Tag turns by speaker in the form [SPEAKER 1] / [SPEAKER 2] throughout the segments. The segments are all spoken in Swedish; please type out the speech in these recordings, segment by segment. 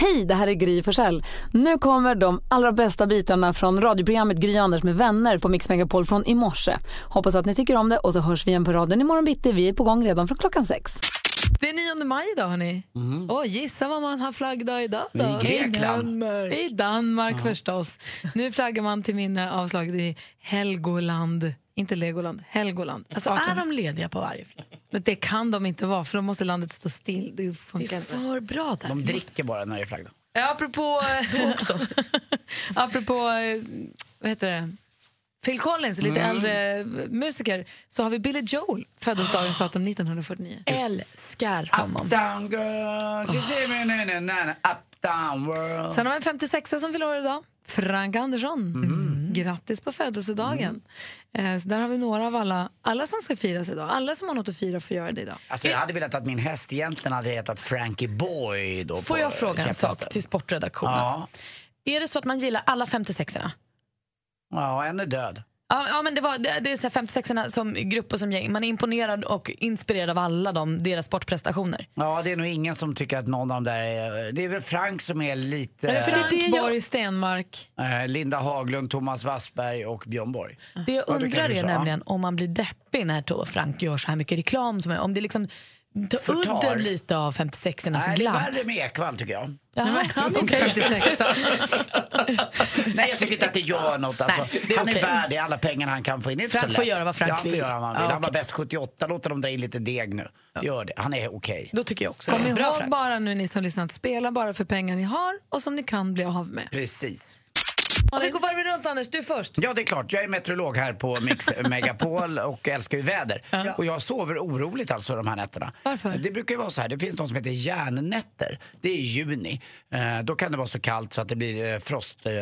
[SPEAKER 1] Hej, det här är Gry Forssell. Nu kommer de allra bästa bitarna från radioprogrammet Gry Anders med vänner på Mix Megapol från i morse. Hoppas att ni tycker om det och så hörs vi igen på raden imorgon bitti. Vi är på gång redan från klockan sex.
[SPEAKER 2] Det är 9 maj idag hörni. Och gissa vad man har flaggdag idag då? Mhm. I Grekland. I Danmark förstås. Nu flaggar man till minne av slaget i Helgoland. Inte Legoland, Helgoland. Alltså,
[SPEAKER 3] Är
[SPEAKER 2] 18...
[SPEAKER 3] de lediga på varje flagg?
[SPEAKER 2] Men Det kan de inte vara för då måste landet stå still. Det funkar inte.
[SPEAKER 3] För bra där.
[SPEAKER 4] De dricker bara när det är flaggdag.
[SPEAKER 2] Ja, apropå... apropå... eh, Vad heter det? Phil Collins, lite äldre musiker, så har vi Billy Joel, födelsedagens datum 1949.
[SPEAKER 3] Älskar
[SPEAKER 4] Ah.
[SPEAKER 3] honom.
[SPEAKER 4] Down
[SPEAKER 3] Ah.
[SPEAKER 4] girl, she's living in a nana, uptown world.
[SPEAKER 2] Sen har vi en 56 som fyller år idag. Frank Andersson. Mm. Grattis på födelsedagen. Eh, så där har vi några av alla, alla som ska firas idag. Alla som har något att fira får göra det idag.
[SPEAKER 4] Alltså jag hade velat att min häst egentligen hade hetat Frankie Boy. Då
[SPEAKER 3] Får
[SPEAKER 4] på
[SPEAKER 3] jag fråga en
[SPEAKER 4] käpphästen.
[SPEAKER 3] sak till sportredaktionen?
[SPEAKER 4] Ja,
[SPEAKER 3] Är det så att man gillar alla 56orna?
[SPEAKER 4] ja, en är död.
[SPEAKER 3] Ja, ja, men det, var, det, det är så här 56orna som grupp och som gäng. Man är imponerad och inspirerad av alla dem, deras sportprestationer.
[SPEAKER 4] Ja, det är nog ingen som tycker att någon av de där är... Det är väl Frank som är lite...
[SPEAKER 3] för det är
[SPEAKER 2] Frank
[SPEAKER 3] det jag-
[SPEAKER 2] Borg Stenmark.
[SPEAKER 4] eh, Linda Haglund, Thomas Wassberg och Björn Borg.
[SPEAKER 3] Det jag
[SPEAKER 4] Ja, det
[SPEAKER 3] undrar
[SPEAKER 4] kanske så,
[SPEAKER 3] är
[SPEAKER 4] ja.
[SPEAKER 3] nämligen om man blir deppig när Tor Frank gör så här mycket reklam. Som är, om det liksom tar
[SPEAKER 4] Förtar.
[SPEAKER 3] udden lite av 56ornas
[SPEAKER 4] Nej, det är
[SPEAKER 3] glam.
[SPEAKER 4] värre med Ekwall tycker jag.
[SPEAKER 3] Jaha,
[SPEAKER 2] Han är inte
[SPEAKER 3] okej.
[SPEAKER 2] 56.
[SPEAKER 4] Nej, jag tycker inte att det gör något. Alltså.
[SPEAKER 3] Nej, det är
[SPEAKER 4] han är
[SPEAKER 3] okej.
[SPEAKER 4] värd det, alla pengarna han kan få in. Det är inte
[SPEAKER 3] Frank
[SPEAKER 4] så
[SPEAKER 3] får
[SPEAKER 4] lätt.
[SPEAKER 3] göra vad Frank
[SPEAKER 4] ja, han får
[SPEAKER 3] vill.
[SPEAKER 4] Göra vad han vill.
[SPEAKER 3] Ja,
[SPEAKER 4] Han var
[SPEAKER 3] okej.
[SPEAKER 4] bäst 78, låt honom dra in lite deg nu. Gör det. Han är okej.
[SPEAKER 3] Då tycker jag också
[SPEAKER 2] Kom
[SPEAKER 3] det. Bra
[SPEAKER 2] ihåg
[SPEAKER 3] Frank.
[SPEAKER 2] bara nu ni som lyssnar att spela bara för pengar ni har och som ni kan bli av med.
[SPEAKER 4] Precis.
[SPEAKER 2] Och vi går varvet runt Anders, du först.
[SPEAKER 4] Ja, det är klart. Jag är meteorolog här på Mix Megapol och älskar ju väder. Och jag sover oroligt alltså de här nätterna.
[SPEAKER 2] Varför?
[SPEAKER 4] Det brukar ju vara så här, det finns något som heter järnnätter. Det är i juni. Eh, då kan det vara så kallt så att det blir eh, frost eh,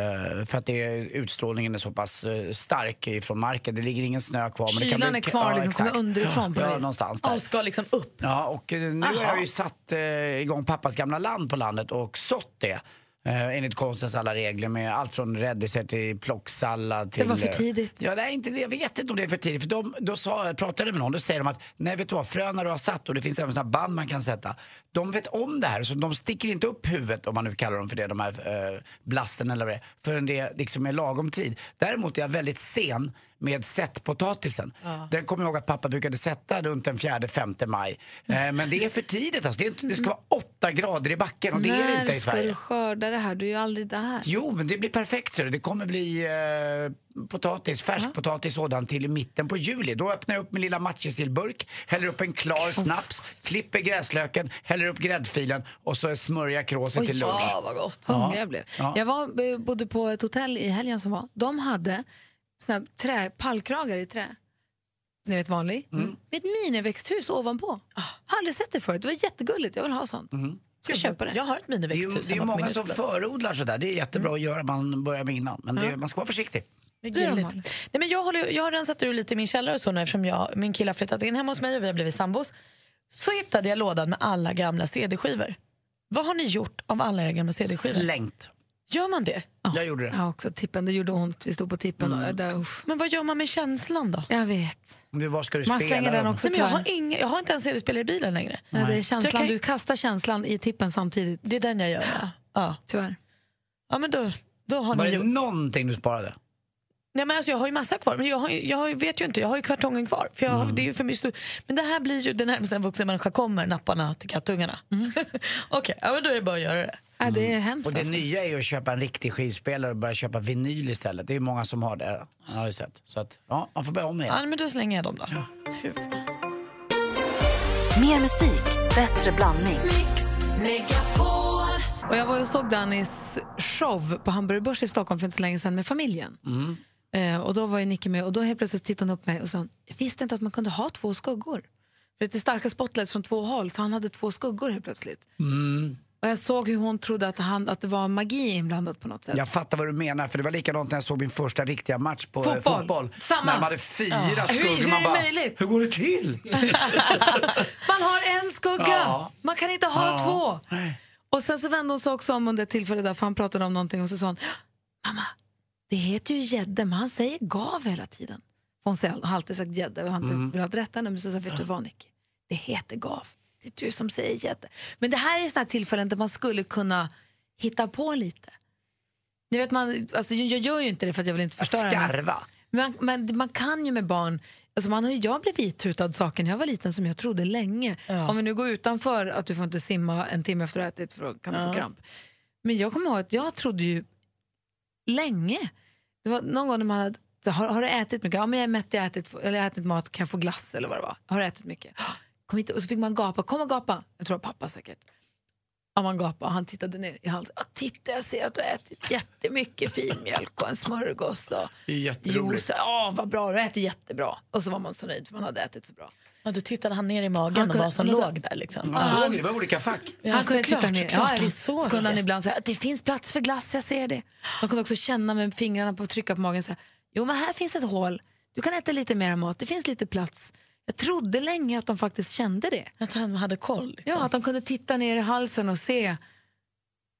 [SPEAKER 4] för att det, är- utstrålningen är så pass eh, stark ifrån marken. Det ligger ingen snö kvar. Men det kan
[SPEAKER 2] Kylan
[SPEAKER 4] bli,
[SPEAKER 2] är kvar, liksom, kommer
[SPEAKER 4] exakt.
[SPEAKER 2] underifrån på något
[SPEAKER 4] ja,
[SPEAKER 2] vis.
[SPEAKER 4] någonstans där.
[SPEAKER 3] Och ska liksom upp.
[SPEAKER 4] Ja, och eh, nu har jag ju satt eh, igång pappas gamla land på landet och sått det. Eh, enligt konstens alla regler med allt från rädisor till plocksallad till...
[SPEAKER 2] Det var för
[SPEAKER 4] eh,
[SPEAKER 2] tidigt.
[SPEAKER 4] Ja, nej, inte det. Jag vet inte om det är för tidigt. För de, då sa, pratade jag med någon, då säger de att nej, vet du vad, fröna du har satt och det finns även sådana band man kan sätta. De vet om det här, så de sticker inte upp huvudet, om man nu kallar dem för det, de här eh, blasten eller vad det är, förrän det liksom är lagom tid. Däremot är jag väldigt sen med sättpotatisen. Den kommer jag ihåg att pappa brukade sätta runt den 4-5 maj. Eh, men det är för tidigt alltså. Det, är inte, det ska vara 8 grader i backen och det är det
[SPEAKER 2] När
[SPEAKER 4] inte i
[SPEAKER 2] ska
[SPEAKER 4] Sverige.
[SPEAKER 2] du skörda det här? Du är ju aldrig där.
[SPEAKER 4] Jo, men det blir perfekt. ser du. Det kommer bli eh, potatis, färsk potatis sådan till i mitten på juli. Då öppnar jag upp min lilla matjessillburk, häller upp en klar snaps, klipper gräslöken, häller upp gräddfilen och så smörjer jag kråset till lunch.
[SPEAKER 2] Ja, vad gott. Hungrig jag blev.
[SPEAKER 4] Ja.
[SPEAKER 2] Jag var, eh, bodde på ett hotell i helgen som var. De hade såna här trä, pallkragar i trä. Ni vet vanlig.
[SPEAKER 4] Mm.
[SPEAKER 3] Mm.
[SPEAKER 2] Med ett miniväxthus ovanpå. Har aldrig sett det förut. Det var jättegulligt. Jag vill ha sånt. Ska jag köpa det?
[SPEAKER 3] Jag har ett
[SPEAKER 4] Det är ju,
[SPEAKER 3] miniväxthus
[SPEAKER 4] det är ju
[SPEAKER 3] hemma på
[SPEAKER 4] många
[SPEAKER 3] min
[SPEAKER 4] som
[SPEAKER 3] uteplats.
[SPEAKER 4] förodlar sådär. Det är
[SPEAKER 2] Mm.
[SPEAKER 4] jättebra att göra, man börjar med innan. Men det, man ska vara försiktig.
[SPEAKER 3] Det är
[SPEAKER 2] Du då,
[SPEAKER 3] gulligt.
[SPEAKER 2] Malin?
[SPEAKER 3] Nej, men jag, håller, jag har rensat ur lite i min källare och så nu eftersom jag, min kille har flyttat in hemma hos mig och vi har blivit sambos. Så hittade jag lådan med alla gamla CD-skivor. Vad har ni gjort av alla era gamla CD-skivor?
[SPEAKER 4] Slängt.
[SPEAKER 3] Gör man det?
[SPEAKER 4] Jag gjorde det.
[SPEAKER 2] Ja, också tippen. Det gjorde ont. Vi stod på tippen. Och, där, usch.
[SPEAKER 3] Men vad gör man med känslan då?
[SPEAKER 2] Jag vet.
[SPEAKER 4] Men Var ska du
[SPEAKER 2] Man
[SPEAKER 4] spela
[SPEAKER 2] slänger den
[SPEAKER 4] dem?
[SPEAKER 2] också
[SPEAKER 3] Nej, men jag, har
[SPEAKER 2] tyvärr.
[SPEAKER 3] ingen, jag har inte en CD-spelare i bilen längre.
[SPEAKER 2] Ja, det är
[SPEAKER 3] Så
[SPEAKER 2] känslan.
[SPEAKER 3] jag kan-
[SPEAKER 2] Du kastar känslan i tippen samtidigt.
[SPEAKER 3] Det är den jag gör. Ja, ja.
[SPEAKER 2] Tyvärr.
[SPEAKER 3] ja men då, då har
[SPEAKER 4] Var
[SPEAKER 3] ni
[SPEAKER 4] det
[SPEAKER 3] gjort.
[SPEAKER 4] någonting du sparade?
[SPEAKER 3] Nej, men alltså, jag har ju massa kvar, men jag, har, ju- jag har, ju- vet ju inte. Jag har ju kvartongen kvar. För jag, har-
[SPEAKER 4] Mm.
[SPEAKER 3] det är ju för min stor- men det här blir ju den här sen vuxen människa kommer, napparna till kattungarna.
[SPEAKER 4] Mm.
[SPEAKER 3] Okej, ja, men då är det bara att göra det.
[SPEAKER 2] Ja, det är hemskt.
[SPEAKER 4] Och det
[SPEAKER 2] alltså.
[SPEAKER 4] nya är ju att köpa en riktig skivspelare och börja köpa vinyl istället. Det är ju många som har det. Jag har ju sett. Så att, ja, man får börja om igen.
[SPEAKER 3] Ja, men då slänger jag dem då. Fy fan.
[SPEAKER 5] Mer musik, bättre blandning.
[SPEAKER 2] Och jag var och såg Dannys show på Hamburger Börs i Stockholm för inte så länge sedan med familjen. Eh, och då var ju Nicky med och då helt plötsligt tittade hon upp mig och sa jag visste inte att man kunde ha två skuggor. För det är starka spotlights från två håll så han hade två skuggor helt plötsligt. Och jag såg hur hon trodde att, han, att det var magi inblandat på något sätt.
[SPEAKER 4] Jag fattar vad du menar, för det var likadant när jag såg min första riktiga match på eh,
[SPEAKER 2] Fotboll.
[SPEAKER 4] fotboll.
[SPEAKER 2] Samma.
[SPEAKER 4] När de hade fyra skuggor.
[SPEAKER 2] Hur- hur
[SPEAKER 4] man
[SPEAKER 2] är det
[SPEAKER 4] bara,
[SPEAKER 2] möjligt?
[SPEAKER 4] hur går det till?
[SPEAKER 2] Man kan inte ha två! Och sen så vände hon sig också om under ett tillfälle där, för han pratade om någonting och så sa hon, mamma, det heter ju gädda, men han säger gav hela tiden. För hon säger- har alltid sagt gädda och han har inte velat rätta henne, men så sa jag, vet du vad Nicky, det heter gav. Det är du som säger gädda. Men det här är sådana tillfällen där man skulle kunna hitta på lite. Ni vet, man, alltså, jag jag gör ju inte det för att jag vill inte förstöra henne.
[SPEAKER 4] Skarva.
[SPEAKER 2] Men, men man kan ju med barn... Alltså man har ju, jag blev vithutad saker när jag var liten som jag trodde länge. Om vi nu går utanför att du får inte simma en timme efter att du har ätit för då kan du få kramp. Men jag kommer ihåg att jag trodde ju länge. Det var någon gång när man hade, så, har, har du ätit mycket? Ja men jag är mätt, jag har ätit, eller jag har ätit mat, kan jag få glass eller vad det var? Har du ätit mycket? "Ah, Kom hit. Och så fick man gapa, kom och gapa. Jag tror det var pappa säkert. Ja, man gapade. Han tittade ner i halsen. Ja, titta, jag ser att du har ätit jättemycket finmjölk och en smörgås. Och
[SPEAKER 4] Det är jätteroligt.
[SPEAKER 2] juice. Ja, vad bra. Du äter jättebra. Och så var man så nöjd för man hade ätit så bra.
[SPEAKER 3] Ja, då tittade han ner i magen och
[SPEAKER 2] kunde-
[SPEAKER 3] vad som
[SPEAKER 2] han-
[SPEAKER 3] låg där. Liksom.
[SPEAKER 4] Man såg det, det var olika fack.
[SPEAKER 3] Ja,
[SPEAKER 2] han kunde
[SPEAKER 3] såklart,
[SPEAKER 2] titta ner.
[SPEAKER 3] såklart,
[SPEAKER 2] ja,
[SPEAKER 3] han
[SPEAKER 2] visst.
[SPEAKER 3] såg
[SPEAKER 2] Så kunde han
[SPEAKER 3] det.
[SPEAKER 2] ibland säga att det finns plats för glass, jag ser det. Man kunde också känna med fingrarna på trycka på magen. Så här, jo, men här finns ett hål. Du kan äta lite mer mat. Det finns lite plats. Jag trodde länge att de faktiskt kände det.
[SPEAKER 3] Att han hade koll. Liksom.
[SPEAKER 2] Ja, att de kunde titta ner i halsen och se.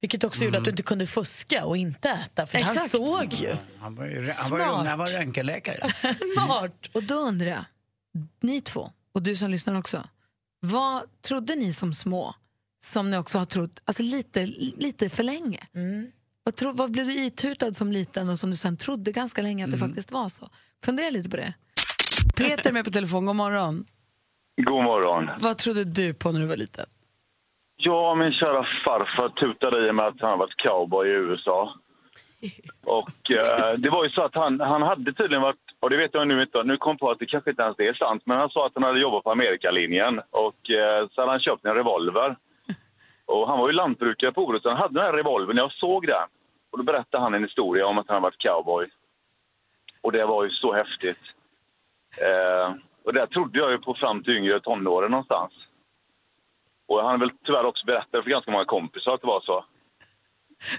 [SPEAKER 3] Vilket också gjorde att du inte kunde fuska och inte äta, för han
[SPEAKER 2] Exakt.
[SPEAKER 3] såg ju.
[SPEAKER 4] Han var ju, han var ju ung, han var röntgenläkare.
[SPEAKER 3] Smart!
[SPEAKER 2] Och då undrar jag, ni två och du som lyssnar också. Vad trodde ni som små, som ni också har trott alltså lite, lite för länge? Vad, tro, vad blev du itutad som liten och som du sen trodde ganska länge att det faktiskt var så? Fundera lite på det. Peter är med på telefon, god morgon.
[SPEAKER 6] God morgon.
[SPEAKER 2] Vad trodde du på när du var liten?
[SPEAKER 6] Ja, min kära farfar tutade i mig att han har varit cowboy i USA. Och eh, det var ju så att han, han hade tydligen varit, och det vet jag nu inte, nu kom jag på att det kanske inte ens är sant, men han sa att han hade jobbat på Amerikalinjen och eh, så hade han köpt en revolver. Och han var ju lantbrukare på Orust, så han hade den här revolvern, jag såg den. Och då berättade han en historia om att han hade varit cowboy. Och det var ju så häftigt. Eh, och det där trodde jag ju på fram till yngre tonåren någonstans. Och han har väl tyvärr också berättat för ganska många kompisar att det var så.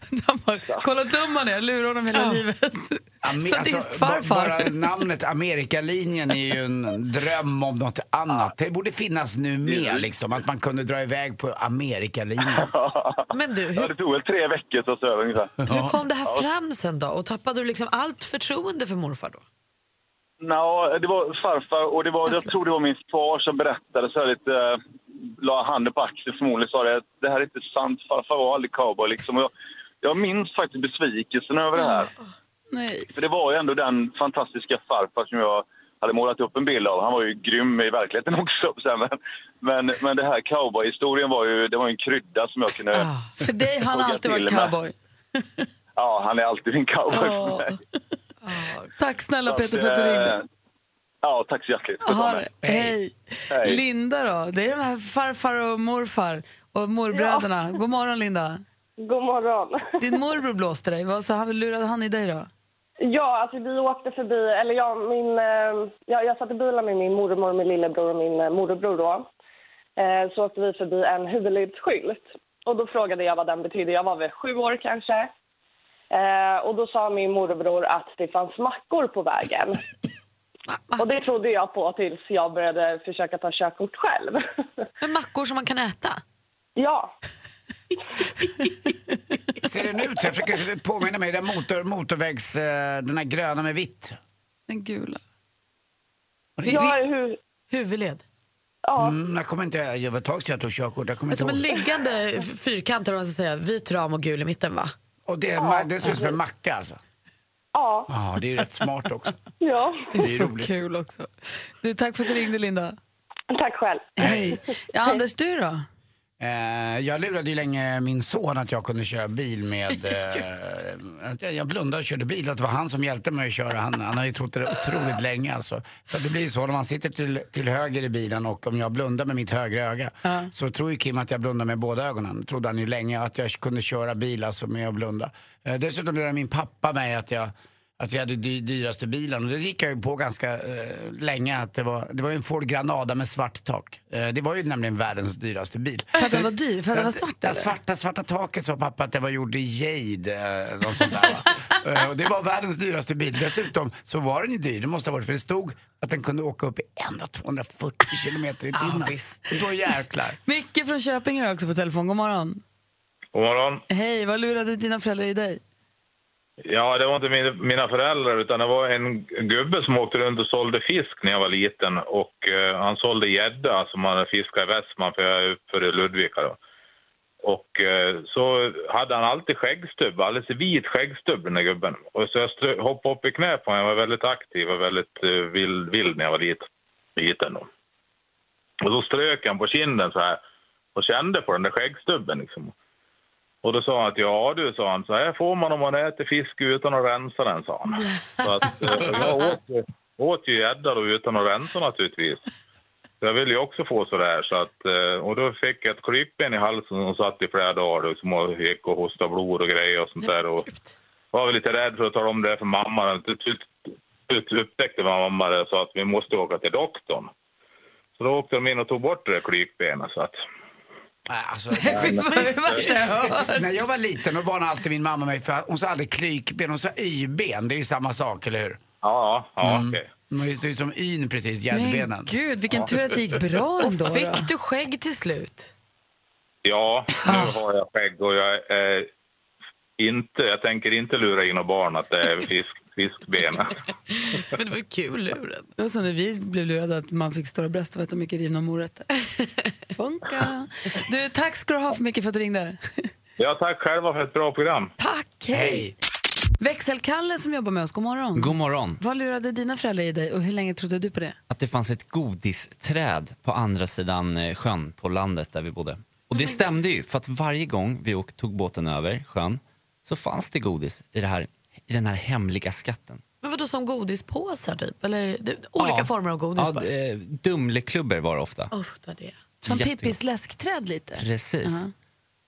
[SPEAKER 2] De bara, Kolla hur dum han är, jag lurar honom hela livet.
[SPEAKER 4] Ame- alltså, ba-
[SPEAKER 2] Sadistfarfar.
[SPEAKER 4] bara namnet Amerikalinjen är ju en dröm om något annat. Det borde finnas nu mer, liksom, att man kunde dra iväg på Amerikalinjen.
[SPEAKER 3] Men du,
[SPEAKER 6] Ja,
[SPEAKER 3] hur,
[SPEAKER 6] det tog väl tre veckor så att säga ungefär.
[SPEAKER 3] hur kom det här fram sen då? Och tappade du liksom allt förtroende för morfar då?
[SPEAKER 6] Nå, det var farfar och det var, jag tror det var min far som berättade så här lite, eh, la handen på axeln förmodligen sa det att det här är inte sant, farfar var aldrig cowboy liksom. Och jag, jag minns faktiskt besvikelsen över det här.
[SPEAKER 2] Nej.
[SPEAKER 6] För det var ju ändå den fantastiska farfar som jag hade målat upp en bild av. Han var ju grym i verkligheten också. så här, Men, men, men det här cowboyhistorien var ju, det var ju en krydda som jag kunde...
[SPEAKER 2] För dig har han
[SPEAKER 6] Hugga
[SPEAKER 2] alltid varit
[SPEAKER 6] till med.
[SPEAKER 2] cowboy.
[SPEAKER 6] Ja, han är alltid en cowboy för mig.
[SPEAKER 2] Tack snälla Peter för att du
[SPEAKER 6] eh,
[SPEAKER 2] ringde.
[SPEAKER 6] Ja, tack så hjärtligt. för att
[SPEAKER 2] Aha,
[SPEAKER 6] vara med.
[SPEAKER 2] hej.
[SPEAKER 6] Hej.
[SPEAKER 2] Linda då, det är de här farfar och morfar och morbröderna. God morgon Linda.
[SPEAKER 7] God morgon.
[SPEAKER 2] Din morbror blåste dig, vad så han, lurade han i dig då?
[SPEAKER 7] Ja, alltså vi åkte förbi, eller jag, min, eh, jag, jag satt i bilen med min mormor, min lillebror och min eh, morbror då. Eh, så åkte vi förbi en huvudledsskylt. Och då frågade jag vad den betydde. Jag var väl sju år kanske. Eh, och då sa min morbror att det fanns mackor på vägen. Och det trodde jag på tills jag började försöka ta körkort själv.
[SPEAKER 3] Men mackor som man kan äta?
[SPEAKER 7] ja,
[SPEAKER 4] Ser den ut så? Jag försöker påminna mig. Den motor, motorvägs... eh, Den här gröna med vitt.
[SPEAKER 2] Den gula.
[SPEAKER 7] jag är hur...
[SPEAKER 3] Huvudled?
[SPEAKER 7] Ja,
[SPEAKER 4] Mm, jag kommer inte... Jag var ett tag sedan jag tog körkort. Jag kommer inte
[SPEAKER 3] Som en
[SPEAKER 4] ihåg.
[SPEAKER 3] liggande f- fyrkant, eller vad man ska säga. Vit ram och gul i mitten, va?
[SPEAKER 4] Och det, är en ma- det ser ut som en macka alltså.
[SPEAKER 7] ja,
[SPEAKER 4] Ja, det är ju rätt smart också.
[SPEAKER 7] ja.
[SPEAKER 4] Det är ju
[SPEAKER 2] Så
[SPEAKER 4] roligt.
[SPEAKER 2] kul också. Du, tack för att du ringde Linda.
[SPEAKER 7] Tack själv.
[SPEAKER 2] Hej. Ja, Anders, du då?
[SPEAKER 4] Eh, jag lurade ju länge min son att jag kunde köra bil med... Eh, att jag, jag blundade och körde bil, att det var han som hjälpte mig att köra. Han, han har ju trott det otroligt länge alltså. För att det blir ju så, när man sitter till, till höger i bilen och om jag blundar med mitt högra öga så tror ju Kim att jag blundar med båda ögonen. trodde han ju länge att jag kunde köra bil alltså med att blunda. Eh, dessutom lurade min pappa mig att jag Att vi hade dy, dyraste bilen. Och det gick jag ju på ganska eh, länge. Att det, var, det var ju en Ford Granada med svart tak. Eh, det var ju nämligen världens dyraste bil.
[SPEAKER 8] För att den var dyr? För att den var svart
[SPEAKER 4] Det
[SPEAKER 8] eller?
[SPEAKER 4] svarta, svarta taket sa pappa att det var gjord i jade. eh, Något sånt där, va? Eh, och det var världens dyraste bil. Dessutom så var den ju dyr. Det måste ha varit för det stod att den kunde åka upp i ända 240 kilometer i timmen. Då jäklar.
[SPEAKER 2] Micke från Köping är också på telefon. God morgon.
[SPEAKER 9] God morgon.
[SPEAKER 2] Hej, vad lurade dina föräldrar i dig?
[SPEAKER 9] Ja, det var inte min, mina föräldrar utan det var en gubbe som åkte runt och sålde fisk när jag var liten. Och eh, han sålde gädda som han hade fiskat i Västman för jag är uppför i Ludvika då. Och eh, så hade han alltid skäggstubb, alldeles vit skäggstubb den där gubben. Och så jag strö- hoppade upp i knä på honom. Jag var väldigt aktiv och väldigt eh, vild, vild när jag var lit- liten då. Och så strök han på kinden så här och kände på den där skäggstubben liksom. Och då sa han att ja du, sa han, så här får man om man äter fisk utan att rensa den, sa han. Så att, eh, jag åt, ju- åt ju gädda då utan att rensa naturligtvis. Så jag ville ju också få sådär. Så att, eh, och då fick jag ett klippben i halsen och satt i flera dagar liksom, och gick och hostade blod och grejer och sånt där. Och var väl lite rädd för att tala om det för mamma. Till slut upptäckte mamma det och sa att vi måste åka till doktorn. Så då åkte de in och tog bort det där klykbenet. Så att,
[SPEAKER 4] Nej, Alltså,
[SPEAKER 9] Fy fan, det är det värsta jag har hört.
[SPEAKER 4] När jag var liten då varnade alltid min mamma mig för att hon sa aldrig klykben, hon sa y-ben. Det är ju samma sak, eller hur?
[SPEAKER 9] ja, ja
[SPEAKER 4] Mm.
[SPEAKER 9] okej.
[SPEAKER 4] Men Det ser ut som yn precis, gäddbenen.
[SPEAKER 9] Men
[SPEAKER 2] gud,
[SPEAKER 9] vilken tur att det gick bra
[SPEAKER 3] Och
[SPEAKER 9] ändå,
[SPEAKER 3] fick
[SPEAKER 9] då.
[SPEAKER 3] du skägg till slut?
[SPEAKER 9] Ja,
[SPEAKER 2] Ah.
[SPEAKER 9] nu har jag skägg och jag är inte, jag tänker inte lura in några barn att det är fisk, fiskben.
[SPEAKER 3] Men det var kul luren.
[SPEAKER 2] Det var som när vi blev lurade att man fick stora bröst och äta mycket rivna morötter. Funka. Du, tack ska du ha för mycket för att du ringde.
[SPEAKER 9] Ja, tack själva för ett bra program.
[SPEAKER 2] Tack, hej. Växelkalle som jobbar med oss, god morgon.
[SPEAKER 10] God morgon.
[SPEAKER 2] Vad lurade dina föräldrar i dig och hur länge trodde du på det?
[SPEAKER 10] Att det fanns ett godisträd på andra sidan eh, sjön på landet där vi bodde. Och
[SPEAKER 8] Oh
[SPEAKER 10] det stämde ju för att varje gång vi åk- tog båten över sjön så fanns det godis i, det här, i den här hemliga skatten.
[SPEAKER 3] Men vadå som godispåsar typ? Eller det- olika
[SPEAKER 10] Ja.
[SPEAKER 3] former av godis
[SPEAKER 10] Ja,
[SPEAKER 3] bara?
[SPEAKER 10] d- eh, Dumleklubbor var det ofta.
[SPEAKER 3] Uff, vad det är.
[SPEAKER 2] Som
[SPEAKER 10] Jättegott.
[SPEAKER 2] Pippis läskträd lite?
[SPEAKER 10] Precis.
[SPEAKER 2] Ja.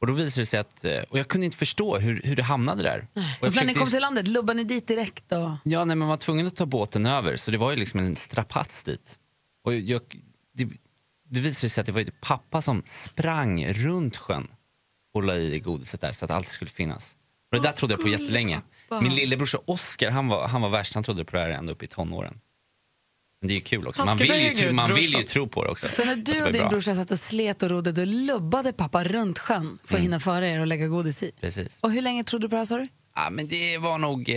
[SPEAKER 10] Och då visade det sig att, eh, och jag kunde inte förstå hur, hur det hamnade där. Och jag
[SPEAKER 2] Och när ni
[SPEAKER 10] försökte ju-
[SPEAKER 2] kom till landet, lubbade ni dit direkt då?
[SPEAKER 10] Ja, nej, man var tvungen att ta båten över, så det var ju liksom en strapats dit. Och jag, det, det visade sig att det var ju pappa som sprang runt sjön och la i godiset där så att allt skulle finnas. Och det där trodde jag på jättelänge.
[SPEAKER 3] pappa.
[SPEAKER 10] Min lillebrorsa Oscar, han var, han var värst, han trodde på det här ända upp i tonåren. Men det är ju kul också,
[SPEAKER 2] Han
[SPEAKER 10] man
[SPEAKER 2] ska
[SPEAKER 10] vill,
[SPEAKER 2] ta
[SPEAKER 10] ju,
[SPEAKER 2] egen
[SPEAKER 10] tro-
[SPEAKER 2] ut,
[SPEAKER 10] man vill ju
[SPEAKER 2] brorsan.
[SPEAKER 10] tro på det också.
[SPEAKER 2] Så när
[SPEAKER 10] att det
[SPEAKER 2] du
[SPEAKER 10] var
[SPEAKER 2] och din
[SPEAKER 10] bra.
[SPEAKER 2] brorsa satt och slet och rodde, då lubbade pappa runt sjön för att
[SPEAKER 10] Mm.
[SPEAKER 2] hinna före er och lägga godis i?
[SPEAKER 10] Precis.
[SPEAKER 2] Och hur länge trodde du på det här sa du?
[SPEAKER 10] Ja, men det var nog eh,